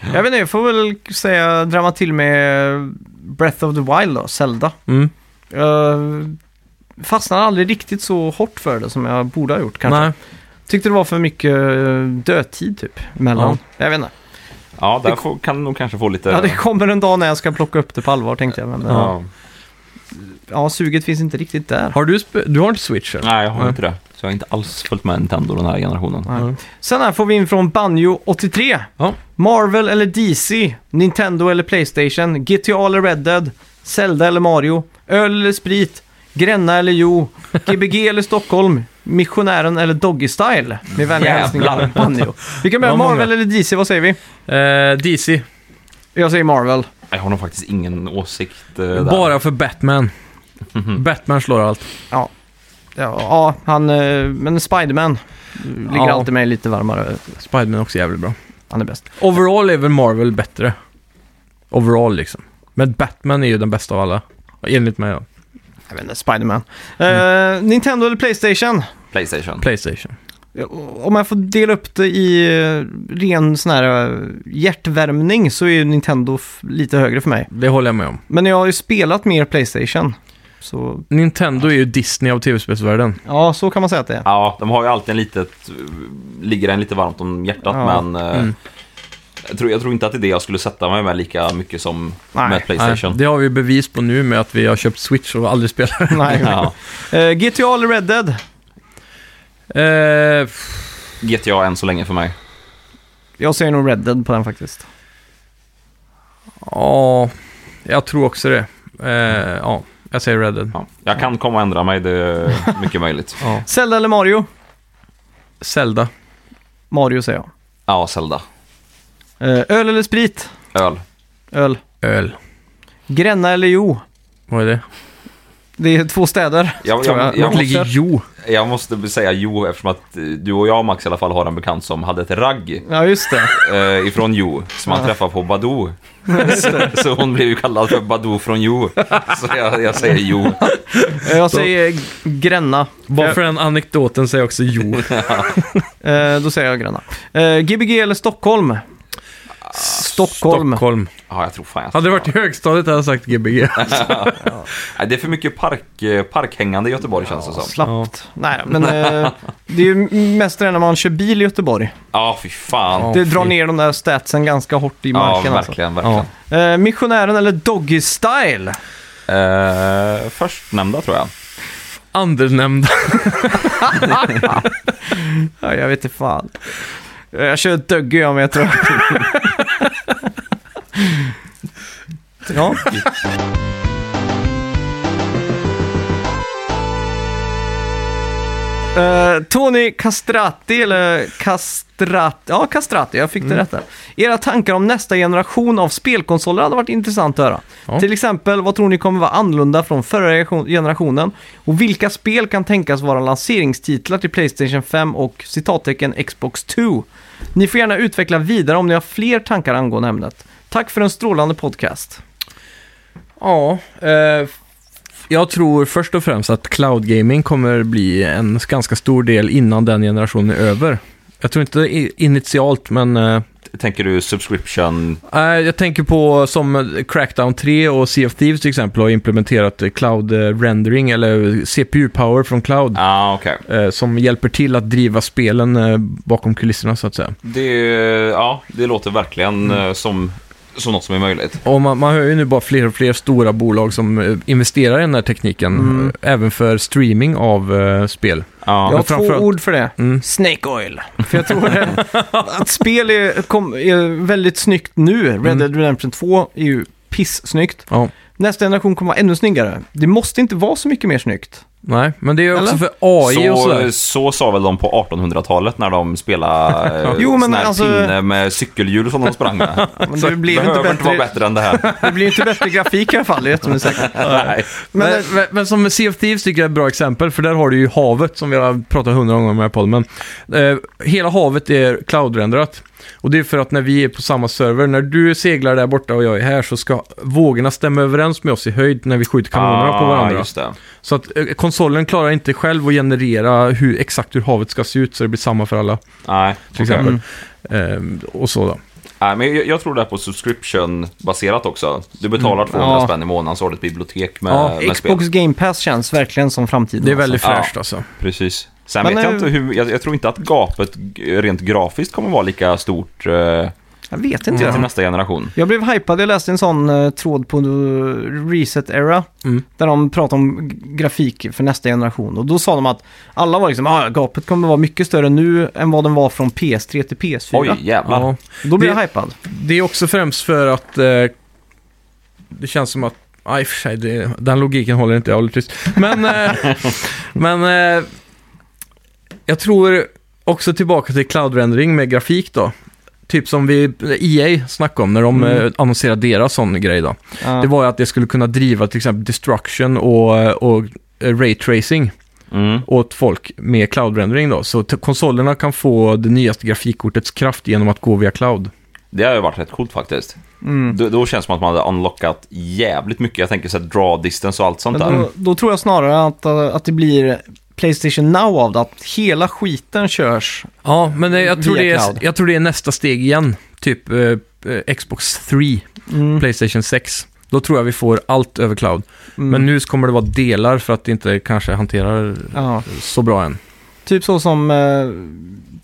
A: Ja. Jag vet inte, jag får väl säga, drämma till med Breath of the Wild då, Zelda.
B: Mm.
A: Jag fastnade aldrig riktigt så hårt för det som jag borde ha gjort kanske.
B: Nej.
A: Tyckte det var för mycket eh, dödtid typ, mellan. Jag vet inte.
C: Ja, där får, kan du nog kanske få lite...
A: Ja, det kommer en dag när jag ska plocka upp det på allvar tänkte jag. Men eh, ja.
C: Ja.
A: suget finns inte riktigt där.
B: Har du, sp- du har inte Switch? eller?
C: Nej, jag har
B: Typ. Nej.
C: inte det. Så jag har inte alls följt med Nintendo den här generationen.
A: Nej. Sen här får vi in från Banjo83.
B: Ja.
A: Marvel eller DC? Nintendo eller Playstation? GTA eller Red Dead? Zelda eller Mario? Öl eller sprit? Gränna eller
B: [laughs]
A: Jo? Gbg eller Stockholm? Missionären eller Doggy Style? Med vänliga
C: Jävlar.
A: hälsningar Banjo. Vi kan börja
B: Det var
A: Marvel eller DC, vad säger vi?
B: Eh, DC.
A: Jag säger Marvel.
C: Jag har nog faktiskt ingen åsikt eh, där. Mhm. Mm.
B: Bara för Batman. Batman slår allt.
A: Ja, ja, ja han, eh, men Spiderman eh, ligger
B: Ja.
A: alltid mig lite varmare.
B: Spiderman är också jävligt bra.
A: Han är bäst.
B: Overall är väl Marvel bättre. Overall liksom. Men Batman är ju den bästa av alla. Enligt mig, ja.
A: Jag vet inte, Spiderman. Eh, Nintendo eller Playstation?
C: Playstation.
B: Playstation.
A: Om jag får dela upp det i eh, ren sån här eh, hjärtvärmning så är ju Nintendo f- lite högre för mig.
B: Det håller jag med om.
A: Men jag har ju spelat mer Playstation. Så
B: Nintendo är ju Disney av tv-spelsvärlden.
A: ja, så kan man säga att det är.
C: Ja, de har ju alltid en litet... eh, Ligger en lite varmt om hjärtat,
A: Ja.
C: men... eh,
B: Mm.
C: Jag, tror, jag tror inte att det är det jag skulle sätta mig med lika mycket som
A: Nej.
C: med Playstation.
B: Nej, det har vi bevis på nu med att vi har köpt Switch och aldrig spelar. [laughs]
A: [laughs] Nej.
C: Ja.
A: Eh, GTA eller Red Dead?
B: eh, f-
C: GTA än så länge för mig.
A: Jag säger nog Red Dead på den faktiskt.
B: ja, jag tror också det. Eh, ja, jag säger Red Dead.
C: Ja. Jag kan komma och ändra mig, det är mycket möjligt.
B: Ja.
A: Zelda eller Mario?
B: Zelda.
A: Mario säger jag.
C: Ja, Zelda.
A: Eh, öl eller sprit?
C: Öl.
A: Öl.
B: Öl.
A: Gränna eller Jo?
B: Vad är det?
A: Det är två städer.
C: Jag,
A: tror
C: jag,
A: jag.
C: jag,
B: Vart
C: måste,
B: ligger Jo?
C: jag måste säga Jo eftersom att eh, du och jag Max i alla fall har en bekant som hade ett ragg
A: Ja, just det.
C: eh, ifrån Jo som han träffade på Badoo. [laughs] Så, så hon blev ju kallad för Badoo från Jo. Så jag, jag säger Jo.
A: Eh, Jag säger Gränna.
B: Bara
A: Jag-
B: för den anekdoten säger jag också Jo.
A: Eh, då säger jag Gränna. Eh, Gbg eller Stockholm?
C: Ah,
A: Stockholm.
B: [laughs] Stockholm.
C: Ja, jag tror fan jag
B: Hade det varit i högstadiet hade jag sagt Gbg.
C: Nej, Det är för mycket park, eh, parkhängande i Göteborg känns det som.
A: Slappt. Nej, men eh, det är ju mest det när man kör bil i Göteborg.
C: Ja, fy fan.
B: Ja,
A: Det drar
B: fy.
A: ner de där statsen ganska hårt i
C: Ja,
A: marken.
C: verkligen, verkligen.
B: Ja.
A: alltså. eh, missionären eller Doggy Style?
C: Eh, förstnämnda tror jag.
B: Andernämnda.
A: Ja, jag vet inte fan. Eh, Jag kör Doggy om jag
C: [laughs]
A: tror. ja. Eh, Tony Castrati, eller Castrati, ja Castrati, jag fick det rätt där. Era tankar om nästa generation av spelkonsoler hade varit intressant att höra.
B: Ja.
A: Till exempel, vad tror ni kommer vara annorlunda från förra generation- generationen? Och vilka spel kan tänkas vara lanseringstitlar till Playstation 5 och citattecken Xbox 2? Ni får gärna utveckla vidare om ni har fler tankar angående ämnet. Tack för en strålande podcast.
B: Ja, eh, jag tror först och främst att cloud gaming kommer bli en ganska stor del innan den generationen är över. Jag tror inte i- initialt, men eh,
C: Tänker du subscription?
B: eh, jag tänker på som Crackdown 3 och Sea of Thieves till exempel har implementerat eh, cloud eh, rendering eller CPU-power från cloud.
C: Ja, okej.
B: eh, Som hjälper till att driva spelen eh, bakom kulisserna så att säga.
C: Det, ja, det låter verkligen
A: Mm.
C: eh, som, som något som är möjligt.
B: Och man, man hör ju nu bara fler och fler stora bolag som eh, investerar i den här tekniken.
A: Mm.
B: eh, Även för streaming av eh, spel.
C: Ja.
A: Jag har
B: men framförallt-
A: två ord för det.
B: Mm.
A: Snake oil. För jag tror det, att spel är, kom, är väldigt snyggt nu. Red
B: Mm.
A: Dead Redemption 2 är ju pissnyggt.
B: Ja.
A: Nästa generation kommer vara ännu snyggare. Det måste inte vara så mycket mer snyggt.
B: Nej, men det är ju också
A: Eller?
B: för AI och
C: Så,
B: sådär.
C: så sa väl de på 1800-talet när
A: [laughs]
C: de spelade eh,
A: Jo,
C: sån
A: men
C: här
A: alltså-
C: pinne med cykelhjul som de sprang med.
A: [laughs] Men
C: Så
A: det blev
C: behöver
A: inte
C: inte, vara
A: bättre,
C: bättre än det
A: [laughs]
C: här.
A: det blir ju inte bättre grafik i alla fall, det är jättesäkert.
C: Nej.
A: Men,
B: Men, men, men som Sea of Thieves tycker jag är ett bra exempel, för där har du ju havet som vi har pratat hundra gånger om i den här podden. Men, eh, hela havet är cloud-renderat. Och det är för att när vi är på samma server, när du seglar där borta och jag är här så ska vågorna stämma överens med oss i höjd när vi skjuter kanonerna på varandra.
C: Ah, Just det.
B: Så att eh, konsolen klarar inte själv att generera hur, exakt hur havet ska se ut så det blir samma för alla.
C: Nej,
B: Till
C: okej.
B: exempel. Eh, och så då.
C: Nej, men jag, jag tror det är på subscription-baserat också. Du betalar 200
A: Mm. Ja.
C: spänn i månaden så har du ett bibliotek med,
B: Ja,
C: med spel.
A: Xbox Game Pass känns verkligen som framtiden.
B: Det är väldigt
C: Ja.
B: fräscht alltså.
C: Precis. Sen
A: Men eh,
C: vet jag
A: nu-
C: inte hur, jag, jag tror inte att gapet g- rent grafiskt kommer vara lika stort eh,
A: alltså. Jag vet inte.
C: till
B: Mm.
A: Jag.
C: nästa generation.
A: jag blev hypad, jag läste en sån eh, tråd på eh, Reset Era.
B: Mm.
A: Där de pratade om g- grafik för nästa generation. Och då sa de att alla var liksom, ah, gapet kommer vara mycket större nu än vad den var från PS3 till PS4.
C: Oj, jävlar.
B: Ja.
A: Då blev
B: Det-
A: jag hypad.
B: Det är också främst för att eh, det känns som att, nej i och för sig, det, den logiken håller inte, jag håller tyst. Men, eh,
A: [laughs]
B: men eh, jag tror också tillbaka till cloud-rendering med grafik då. Typ som vi, EA snackade om när de
A: Mm.
B: eh, annonserade deras sån grej då.
A: Ja.
B: Det var ju att det skulle kunna driva till exempel destruction och, och eh, ray tracing
C: Mm.
B: åt folk med cloud-rendering då. Så t- konsolerna kan få det nyaste grafikkortets kraft genom att gå via cloud.
C: Det har ju varit rätt coolt faktiskt.
A: Mm.
C: Då, då känns det som att man hade unlockat jävligt mycket. Jag tänker så här draw distance och allt sånt
A: Men
C: där.
A: då, då tror jag snarare att, eh, att det blir Playstation Now av det, att hela skiten körs.
B: Ja, men det, jag, tror
A: Via
B: det är,
A: cloud.
B: jag tror det är nästa steg igen. Typ eh, eh, Xbox 3,
A: Mm.
B: Playstation 6. Då tror jag vi får allt över cloud.
A: Mm.
B: Men nu kommer det vara delar för att det inte kanske hanterar
A: Ja.
B: så bra än.
A: Typ så som eh,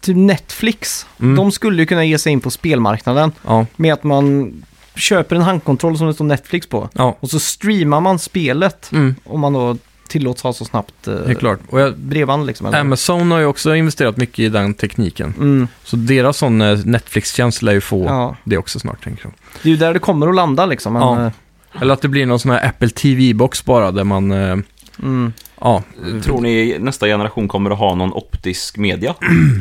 A: typ Netflix.
B: Mm.
A: De skulle ju kunna ge sig in på spelmarknaden
B: Ja,
A: med att man köper en handkontroll som det står Netflix på.
B: ja.
A: Och så streamar man spelet
B: Mm,
A: om man då tillåts ha så snabbt
B: det är
A: eh,
B: klart. Och jag,
A: bredband liksom. Eller?
B: Amazon har ju också investerat mycket i den tekniken.
A: Mm.
B: Så deras sån eh, Netflix-tjänst lär ju få
A: Ja.
B: det också snart, tänker jag.
A: Det är ju där det kommer att landa liksom. Men,
B: Ja.
A: eh,
B: Eller att det blir någon sån här Apple TV-box bara, där man... eh,
A: mm,
B: Ja,
C: Tror ni nästa generation kommer att ha någon optisk media?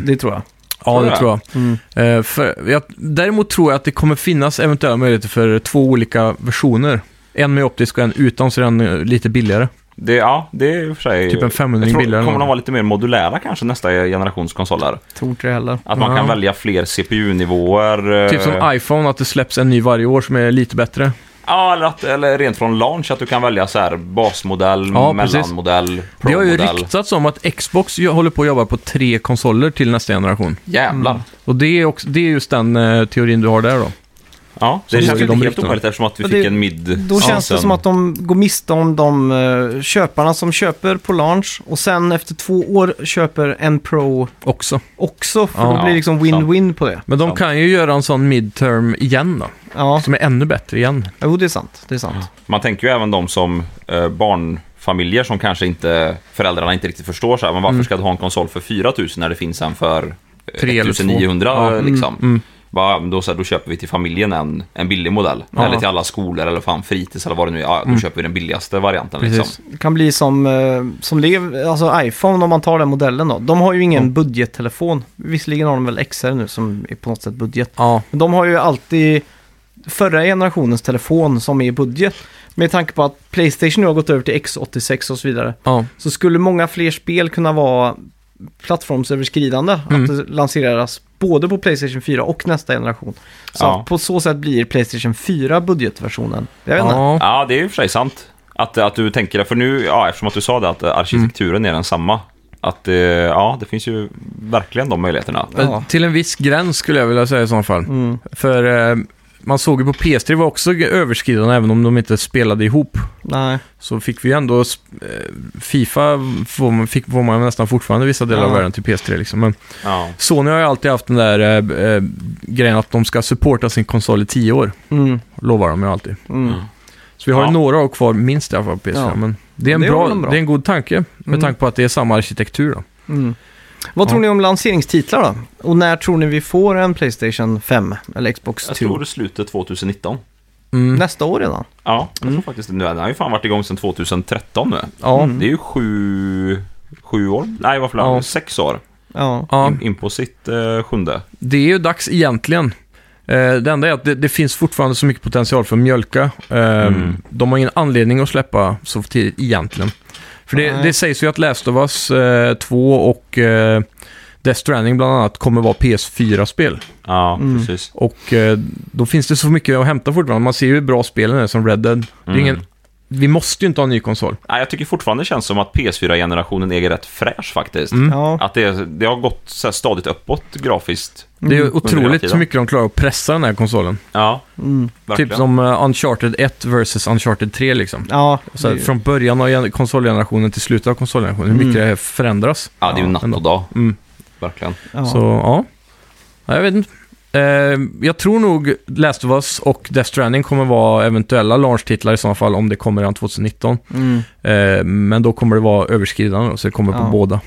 A: det tror jag.
B: ja
C: Tror
B: det
C: jag.
B: tror jag.
A: Mm.
B: Eh, för, jag. Däremot tror jag att det kommer finnas eventuella möjligheter för två olika versioner. En med optisk och en utan, så är den eh, lite billigare.
C: Det, ja, det är i och för sig...
B: Typ en 500
C: jag tror,
B: billigare
C: kommer
B: än
C: de vara lite mer modulära kanske nästa generations konsoler?
A: Tror inte det heller.
C: Att man
B: Ja.
C: kan välja fler CPU-nivåer. eh,
B: Typ som iPhone, att det släpps en ny varje år som är lite bättre.
C: Ja, eller, att, eller rent från launch att du kan välja så här basmodell,
B: Ja, precis.
C: mellanmodell,
B: Det har ju
C: pro-modell.
B: ryktats om att Xbox ju- håller på att jobba på tre konsoler till nästa generation.
C: Jävlar.
B: Och det är, också, det är just den eh, teorin du har där då.
C: Ja,
B: Så
C: det
B: det är
C: känns ju
B: de
C: inte helt
B: ryktena.
C: omöjligt eftersom att vi
A: Ja,
C: fick
A: det-
C: en mid
A: Då känns det som att de går miste om de eh, köparna som köper på launch och sen efter två år köper en Pro
B: Också.
A: också. För
B: Ja.
A: då blir det liksom win-win på det.
B: Men de
C: Sant.
B: kan ju göra en sån midterm igen då.
A: Ja,
B: Som är ännu bättre igen.
A: jo det är sant. Det är sant.
C: Man tänker ju även de som eh, barnfamiljer som kanske inte föräldrarna inte riktigt förstår så här, men varför
B: Mm.
C: ska du ha en konsol för 4000 när det finns en för eh,
B: 3 eller
C: 1900
B: två. Ja.
C: eh, liksom.
B: Mm.
C: Va, då, så här, då köper vi till familjen en, en billig modell.
B: Ja.
C: Eller till alla skolor eller fan fritids eller vad det nu är. Ja, då
B: Mm.
C: köper vi den billigaste varianten.
B: Precis.
C: Liksom.
A: Det kan bli som, eh, som det är, alltså iPhone om man tar den modellen då. De har ju ingen
B: Mm.
A: budgettelefon. Visserligen har de väl XR nu som är på något sätt budget.
B: Ja,
A: Men de har ju alltid förra generationens telefon som är budget. Med tanke på att Playstation nu har gått över till X86 och så vidare.
B: ja.
A: Så skulle många fler spel kunna vara plattformsöverskridande.
B: Mm.
A: Att det lanseras både på Playstation 4 och nästa generation. Så
C: Ja.
A: att på så sätt blir Playstation 4 budgetversionen. Jag vet inte.
B: ja.
C: Ja, det är ju för sig sant. Att, att du tänker det, för nu, ja, eftersom att du sa det att eh, arkitekturen är densamma. Att eh, ja, det finns ju verkligen de möjligheterna.
A: Ja.
B: Eh, Till en viss gräns skulle jag vilja säga i sådana fall.
A: Mm.
B: För eh, man såg ju på PS3 var också överskridande även om de inte spelade ihop.
A: Nej.
B: Så fick vi ju ändå, sp- eh, Fifa får man, fick, får man nästan fortfarande vissa delar av
A: Ja.
B: världen till PS3 liksom. Men
C: Ja.
B: Sony har ju alltid haft den där eh, eh, grejen att de ska supporta sin konsol i tio år.
A: Mm.
B: Lovar de ju alltid.
A: Mm.
B: Så vi har ju
C: Ja.
B: några år kvar, minst i alla fall, på PS4.
A: Ja.
B: Men det är, en
A: Det är
B: bra,
A: väl en bra.
B: det är en god tanke, med
A: Mm.
B: tanke på att det är samma arkitektur. Då.
A: Mm. Vad
B: Ja.
A: tror ni om lanseringstitlar då? Och när tror ni vi får en Playstation 5 eller Xbox
C: Jag
A: 2?
C: tror slutet 2019.
B: Mm.
A: Nästa år redan?
C: Ja, jag tror faktiskt det. Nu är- Den har ju fan varit igång sedan 2013 nu.
B: Ja.
A: Mm.
C: Det är ju sju, sju år. Nej, varför
B: Ja.
C: ja. sex år.
A: Ja.
B: Ja,
C: In, in på sitt eh, sjunde.
B: det är ju dags egentligen. Eh, det enda är att det, det finns fortfarande så mycket potential för att mjölka. Eh,
C: Mm.
B: De har ingen anledning att släppa så tidigt egentligen. För det,
A: Nej.
B: det sägs ju att Last of Us eh, 2 och eh, Death Stranding bland annat kommer vara PS4-spel.
C: Ja,
A: Mm.
C: precis.
B: Och eh, då finns det så mycket att hämta fortfarande. Man ser ju hur bra spelen är som Red Dead. Det är
C: Mm.
B: ingen, vi måste ju inte ha en ny konsol.
C: Nej, jag tycker fortfarande det känns som att PS4-generationen är rätt fräsch faktiskt.
B: Mm.
A: Ja.
C: Att det, det har gått så här stadigt uppåt grafiskt.
B: Det är ju
C: hela
B: otroligt
C: tiden.
B: hur mycket de klarar att pressa den här konsolen.
C: Ja,
A: Mm.
C: verkligen.
B: Typ som eh, Uncharted 1 versus Uncharted 3 liksom.
A: Ja.
B: Så här,
A: det-
B: från början av gen- konsolgenerationen till slutet av konsolgenerationen, hur mycket
A: Mm.
B: det här förändras.
C: Ja, det är ju natt och dag.
B: Mm.
C: Verkligen.
A: ja.
B: Så, ja. ja. Jag vet inte. Eh, jag tror nog Last of Us och Death Stranding kommer vara eventuella launchtitlar i så fall om det kommer redan 2019.
A: Mm.
B: Eh, men då kommer det vara överskridande då, så det kommer på
A: Ja.
B: båda.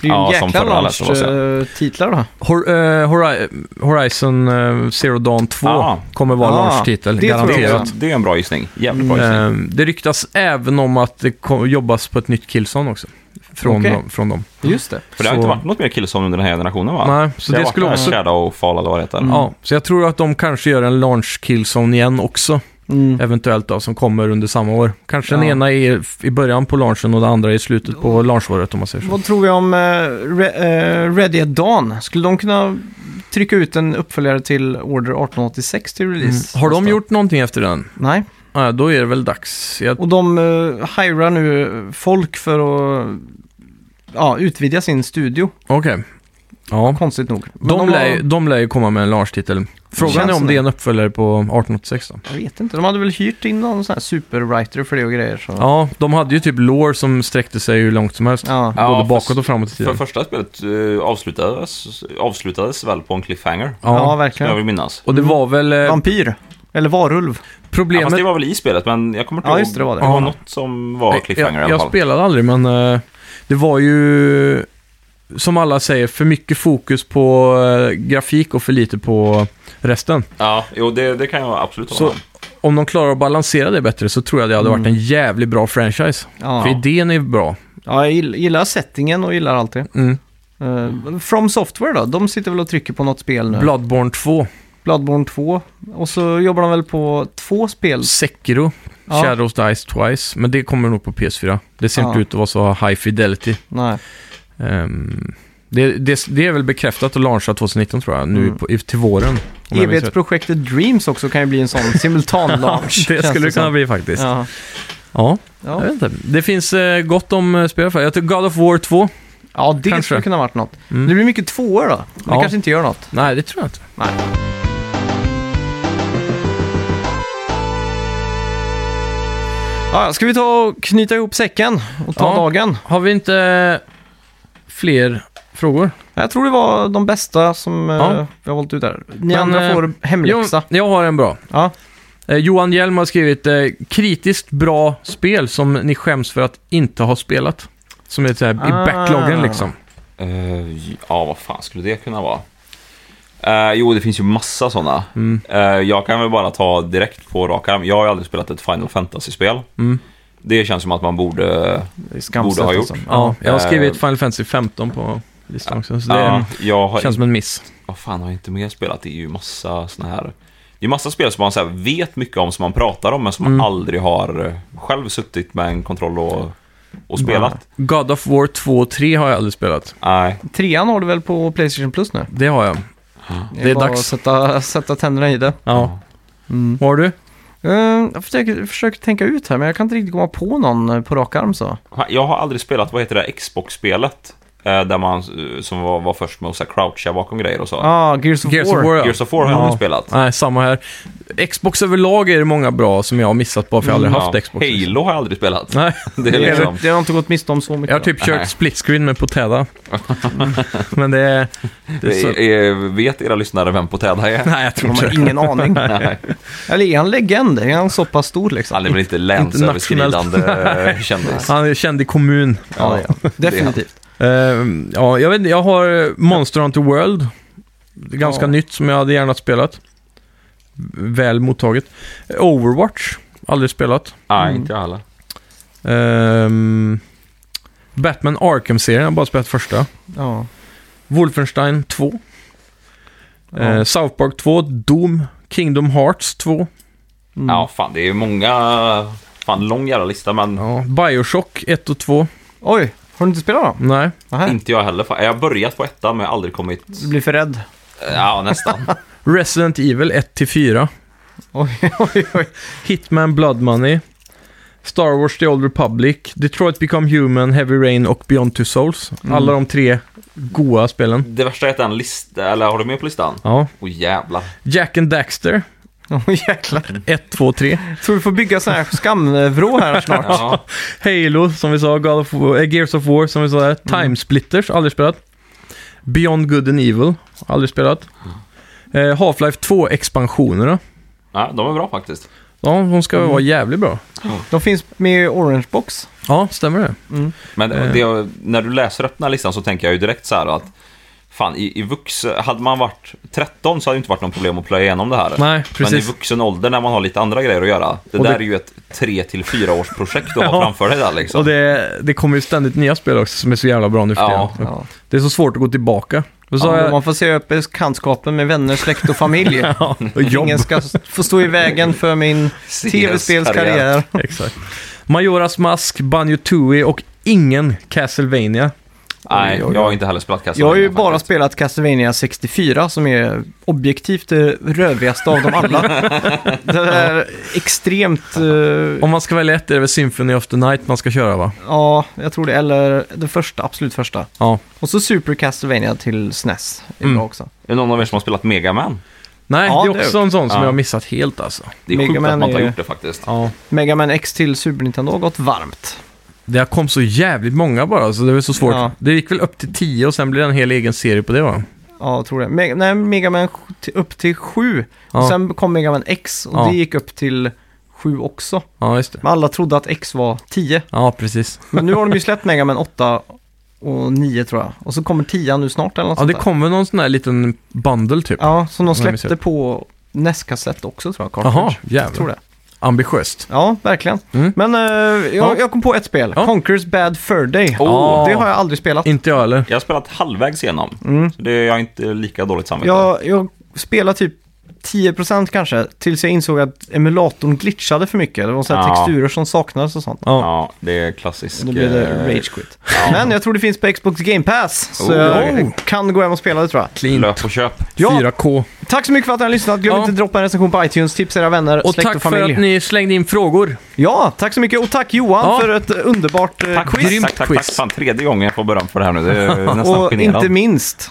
A: Det är ju
C: Ja,
A: en
C: som
A: jäkla
C: förra Last of Us, ja.
A: launch-titlar då.
B: Hor eh, Hori- Horizon eh, Zero Dawn 2
C: Ah.
B: kommer vara
A: Ah,
B: launchtitel,
A: det tror jag
C: Det
B: garanterat.
A: också.
C: är, det är en bra gissning. Jävligt bra gissning.
B: Eh, det ryktas även om att det kom, jobbas på ett nytt Killzone också. Från,
A: Okej.
B: dem, från dem.
A: Just det.
C: För det har
B: så-
C: inte varit något mer Killzone under den här generationen va?
B: Nej, så det,
C: har
B: skulle Mm.
C: varit
B: också...
C: Shadow och Fall eller vad det heter.
B: Ja, så jag tror att de kanske gör en launch Killzone igen också.
A: Mm.
B: Eventuellt då, som kommer under samma år. Kanske den
A: Ja.
B: ena är f- i början på launchen och den andra i slutet på launchåret om man säger så.
A: Vad tror vi om eh, Re- eh, Ready at Dawn? Skulle de kunna trycka ut en uppföljare till Order 1886 till
B: Mm.
A: release?
B: Har de
A: nästa år?
B: gjort någonting efter den?
A: Nej.
B: Ja, då är det väl dags. Jag...
A: Och de uh, hirar nu folk för att ja, utvidga sin studio,
B: Okej. Ja.
A: konstigt nog. Men
B: De, lär,
A: har-
B: ju- de lär ju komma med en launchtitel. Frågan
A: Känns
B: är om
A: det.
B: det är en uppföljare på 1886 då.
A: Jag vet inte, de hade väl hyrt in någon sån här superwriter för det och grejer. Så.
B: Ja, de hade ju typ lore som sträckte sig hur långt som helst.
A: Ja.
C: Ja,
B: både
C: fast-
B: bakåt och framåt i
C: För
B: tiden.
C: första spelet eh, avslutades, avslutades väl på en cliffhanger?
B: Ja.
A: Ja,
C: Skulle jag
A: verkligen.
C: vill minnas.
B: Och det var väl... eh,
A: Vampyr. Eller varulv.
C: Ja, fast
B: problemet...
C: det var väl i spelet, men jag kommer inte
A: Ja,
C: ihåg.
A: just det, det var det.
B: Ja.
C: något som var
B: jag,
C: cliffhanger i alla
B: jag
C: fall.
B: spelade aldrig, men eh, det var ju... Som alla säger, för mycket fokus på eh, grafik och för lite på resten.
C: Ja, jo, det, det kan jag absolut hålla
B: Så-
C: med om.
B: Om de klarar att balansera det bättre så tror jag det hade varit en jävligt bra franchise. För
A: Ja.
B: idén är bra.
A: ja, jag gill- gillar settingen och gillar allt det.
B: Mm.
A: Eh, From Software då? De sitter väl och trycker på något spel nu?
B: Bloodborne 2.
A: Bloodborne 2. Och så jobbar de väl på två spel.
B: Sekiro,
A: Ja.
B: Shadows Dice Twice, men det kommer nog på PS4. Det ser
A: Ja.
B: inte ut att vara så high fidelity.
A: Nej.
B: Ehm, det, det, det är väl bekräftat och launchat 2019 tror jag, nu
A: Mm.
B: på, i- till våren. om
A: E
B: jag minns rätt.
A: Evighetsprojektet Dreams också kan ju bli en
B: [laughs]
A: sån simultan launch.
B: det skulle det kunna bli faktiskt. Ja.
A: Ja.
B: jag
A: Ja.
B: vet inte. Det finns eh, gott om eh, spel för. Jag tror God of War 2.
A: ja, det
B: Kanske.
A: skulle kunna varit något.
B: Mm.
A: Det blir mycket tvåor då. Men
B: Ja.
A: Det kanske inte gör något.
B: Nej, det tror jag inte.
A: Nej. Ja, ska vi ta och knyta ihop säcken och ta
B: Ja.
A: dagen?
B: Har vi inte eh, fler frågor?
A: Jag tror det var de bästa som
B: Ja.
A: eh, vi har valt ut där. Ni
B: Men,
A: andra
B: eh,
A: får hemläxa.
B: Jo, jag har en bra.
A: Ja.
B: Eh, Johan Hjelm har skrivit eh, kritiskt bra spel som ni skäms för att inte ha spelat. Som är så här,
A: Ah.
B: i backloggen liksom.
C: Eh, ja, vad fan skulle det kunna vara? Eh, jo, det finns ju massa sådana.
B: Mm.
C: Eh, jag kan väl bara ta direkt på rak arm. Jag har ju aldrig spelat ett Final Fantasy-spel.
B: Mm.
C: Det känns som att man borde...
A: Det är skamset
C: Borde ha
A: alltså.
B: Ja, jag har skrivit
C: Eh.
B: Final Fantasy 15 på listan också, så det
C: Ja, jag har
B: känns som en miss.
C: vad fan har jag inte mer spelat? Det är ju massa såna här... Det är massa spel som man så här vet mycket om, som man pratar om, men som
B: Mm.
C: man aldrig har eh, själv suttit med en kontroll och, och spelat.
B: God of War 2 och 3 har jag aldrig spelat.
C: Nej.
A: Trean har du väl på Playstation Plus nu?
B: Det har jag. Det är
A: bara
B: dags. Mm.
A: Att sätta, sätta tänderna i det.
B: Ja. Vad har du?
A: Eh, jag försöker, försöker tänka ut här, men jag kan inte riktigt komma på någon eh, på rak arm så.
C: Fan, Jag har aldrig spelat, vad heter det, Xbox-spelet? Eh, där man, eh, som var, var först med att så här, croucha bakom grejer och så.
A: Ja, ah, Gears of
B: Gears of
A: War.
B: War, ja.
C: Gears of War har jag
B: Ja.
C: aldrig spelat.
B: Nej, samma här. Xbox överlag är det många bra som jag har missat bara för jag har aldrig
C: Mm, Ja.
B: haft Xbox.
C: Halo har jag aldrig spelat.
B: Nej,
C: [laughs] Det är
A: Det,
C: liksom...
A: det har jag inte gått miste om så mycket.
B: jag har typ
C: Nej.
B: kört split screen med Potäda. Men det är... Det är så...
C: Eh, eh, Vet era lyssnare vem Potäda är?
B: Nej, jag tror
A: De
B: inte
A: har
B: det.
A: ingen
B: [laughs]
A: aning.
C: Nej.
A: Eller är han legend? Är han så pass stor liksom?
C: Han är väl
B: [laughs]
C: inte länsöverskridande eh, kändis?
B: Han är känd i kommun.
A: Ja,
C: Ja.
A: ja. Definitivt.
B: Ehm, ja, jag vet inte, jag har Monster Hunter World. Det är ganska
A: Ja.
B: nytt som jag hade gärna spelat. Väl mottaget. Overwatch, aldrig spelat.
C: Nej, inte jag heller.
B: Ehm, Batman Arkham-serien, jag har bara spelat första. Eh,
A: Ja.
B: Wolfenstein 2.
A: Ja.
B: Eh, South Park 2, Doom, Kingdom Hearts 2.
A: Mm.
C: Ja, fan det är ju många... Fan, lång jävla lista men
B: Ja, Bioshock 1 och 2.
A: Oj, har du inte spelat då?
B: Nej.
A: Nähä.
C: inte jag heller. Fan, Jag har börjat på ettan men jag har aldrig kommit...
A: Du blir för rädd.
C: Ja,
A: [laughs]
C: nästan.
B: Resident Evil 1 till 4.
A: Oj, oj, oj.
B: Hitman Blood Money. Star Wars The Old Republic, Detroit Become Human, Heavy Rain och Beyond Two Souls. Alla de tre goa spelen.
C: Det värsta är att den lista... Eller har du med på listan?
B: Ja.
C: Åh jävlar.
B: Jack and Daxter,
A: Åh jäklar.
B: 1, 2, 3.
A: Tror du får bygga sån här skamvrå här snart?
C: Ja.
A: [laughs]
B: Halo, som vi sa, God of War, äh, Gears of War, som vi sa där. Time Splitters, aldrig spelat. Beyond Good and Evil, aldrig spelat. Eh, Half-Life 2-expansionerna.
C: ja, de är bra faktiskt.
B: Ja, de ska vara jävligt bra.
A: De finns med i Orange Box.
B: Ja, stämmer det.
C: Men
A: Eh.
C: det, när du läser upp den här listan så tänker jag ju direkt så här att... Fan, i, i vuxen... Hade man varit 13 så hade det inte varit något problem att plöja igenom det här.
B: Nej,
C: Men i
B: precis.
C: vuxen ålder när man har lite andra grejer att göra. Det
B: Och
C: där
B: det-
C: är ju ett 3-4 års projekt
A: [laughs]
C: att ha
B: Ja.
C: framför dig där liksom.
B: Och det, det kommer ju ständigt nya spel också som är så jävla bra nu för
C: Ja.
B: tiden.
A: Ja.
B: Det är så svårt att gå tillbaka. Och så har
A: Ja,
B: jag-
A: man får se upp bekantskapen med vänner, släkt och familj.
B: Ja, och jobb.
A: Ingen ska s- få stå i vägen för min tv-spelskarriär.
B: Exakt. Majoras Mask, Banjo Tooie och ingen Castlevania.
C: Nej,
A: Oj, oj, oj.
C: jag har inte heller spelat Castlevania
A: Jag har ju bara
C: faktiskt.
A: spelat Castlevania 64 som är objektivt det rövigaste av dem
C: [laughs]
A: alla. det är extremt... eh,
B: Om man ska välja ett är det väl Symphony of the Night man ska köra va?
A: ja, jag tror det. Eller det första, absolut första.
B: Ja.
A: Och så Super Castlevania till SNES. Är
B: Mm.
A: bra också.
C: Är det någon av er som har spelat Mega Man?
B: Nej,
A: Ja,
B: det
A: det
B: är
A: är
B: också en sån som
C: Ja.
B: jag har missat helt alltså.
C: Det är
A: Mega
C: sjukt
A: Man
C: att man inte
A: är-
C: har gjort det faktiskt.
B: Ja.
A: Mega Man X till Super Nintendo har gått varmt.
B: Det kom så jävligt många bara så det var så svårt.
A: Ja.
B: Det gick väl upp till 10 och sen blev det en hel egen serie på det va?
A: Ja, jag tror det. Meg- nej, Mega Man sj- till- upp till 7.
B: Ja,
A: Och sen kom Mega Man X och
B: Ja.
A: det gick upp till 7 också.
B: ja just det.
A: Men alla trodde att X var 10.
B: Ja, precis.
A: Men nu har de ju släppt Mega Man 8 och 9 tror jag. Och så kommer 10 nu snart eller något
B: Ja, det
A: sånt där.
B: kom väl någon sån där liten bundle typ.
A: Ja, som de
B: jag minns
A: släppte på NES-kassett också tror jag. Cartridge.
B: Jaha,
A: Jag tror
B: jävlar.
A: det.
B: Ambitiöst.
A: Ja, verkligen.
B: Mm.
A: Men eh, jag,
B: Ja.
A: jag kom på ett spel.
B: Ja.
A: Conquer's Bad Fur Day.
B: Åh.
A: Det har jag aldrig spelat.
B: Inte jag heller.
C: Jag har spelat halvvägs igenom.
A: Mm.
C: Så det är jag inte lika dåligt samvete.
A: Jag, jag spelar typ 10% kanske, tills jag insåg att emulatorn glitchade för mycket. Det var så här
C: Ja.
A: texturer som saknades och sånt.
B: Ja.
C: Ja, det är klassisk...
A: Och då blir det
C: eh,
A: rage quit. Men jag tror det finns på Xbox Game Pass, så
C: Oh.
A: jag kan gå hem och spela det tror jag.
B: Clean.
C: Löp och köp.
A: Ja,
B: 4K.
A: tack så mycket för att ni har lyssnat. Glöm
B: Ja.
A: inte att droppa en recension på iTunes, tipsa era vänner,
B: Och
A: släkt
B: tack
A: och
B: för
A: familj.
B: att ni slängde in frågor.
A: Ja, tack så mycket. Och tack Johan
B: Ja.
A: för ett underbart eh,
C: Tack,
A: quiz.
B: Grymt
C: tack, tack,
B: quiz.
C: tack. Fan, tredje gången jag får beröm för det här nu.
A: [laughs]
C: Det är nästan
A: Och
C: generande.
A: inte minst,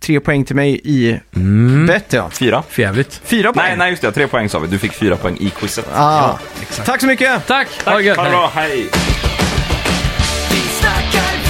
A: tre poäng till mig i
B: Mm.
A: bett ja.
C: Fyra?
B: Förjävligt.
A: Fyra poäng.
C: Nej, nej, just det. Tre poäng sa vi. Du fick fyra poäng i quizet.
A: Ah. Tack så mycket!
B: Tack!
C: Tack,
B: det gött.
C: ha det bra. Hej!
D: Vi snackar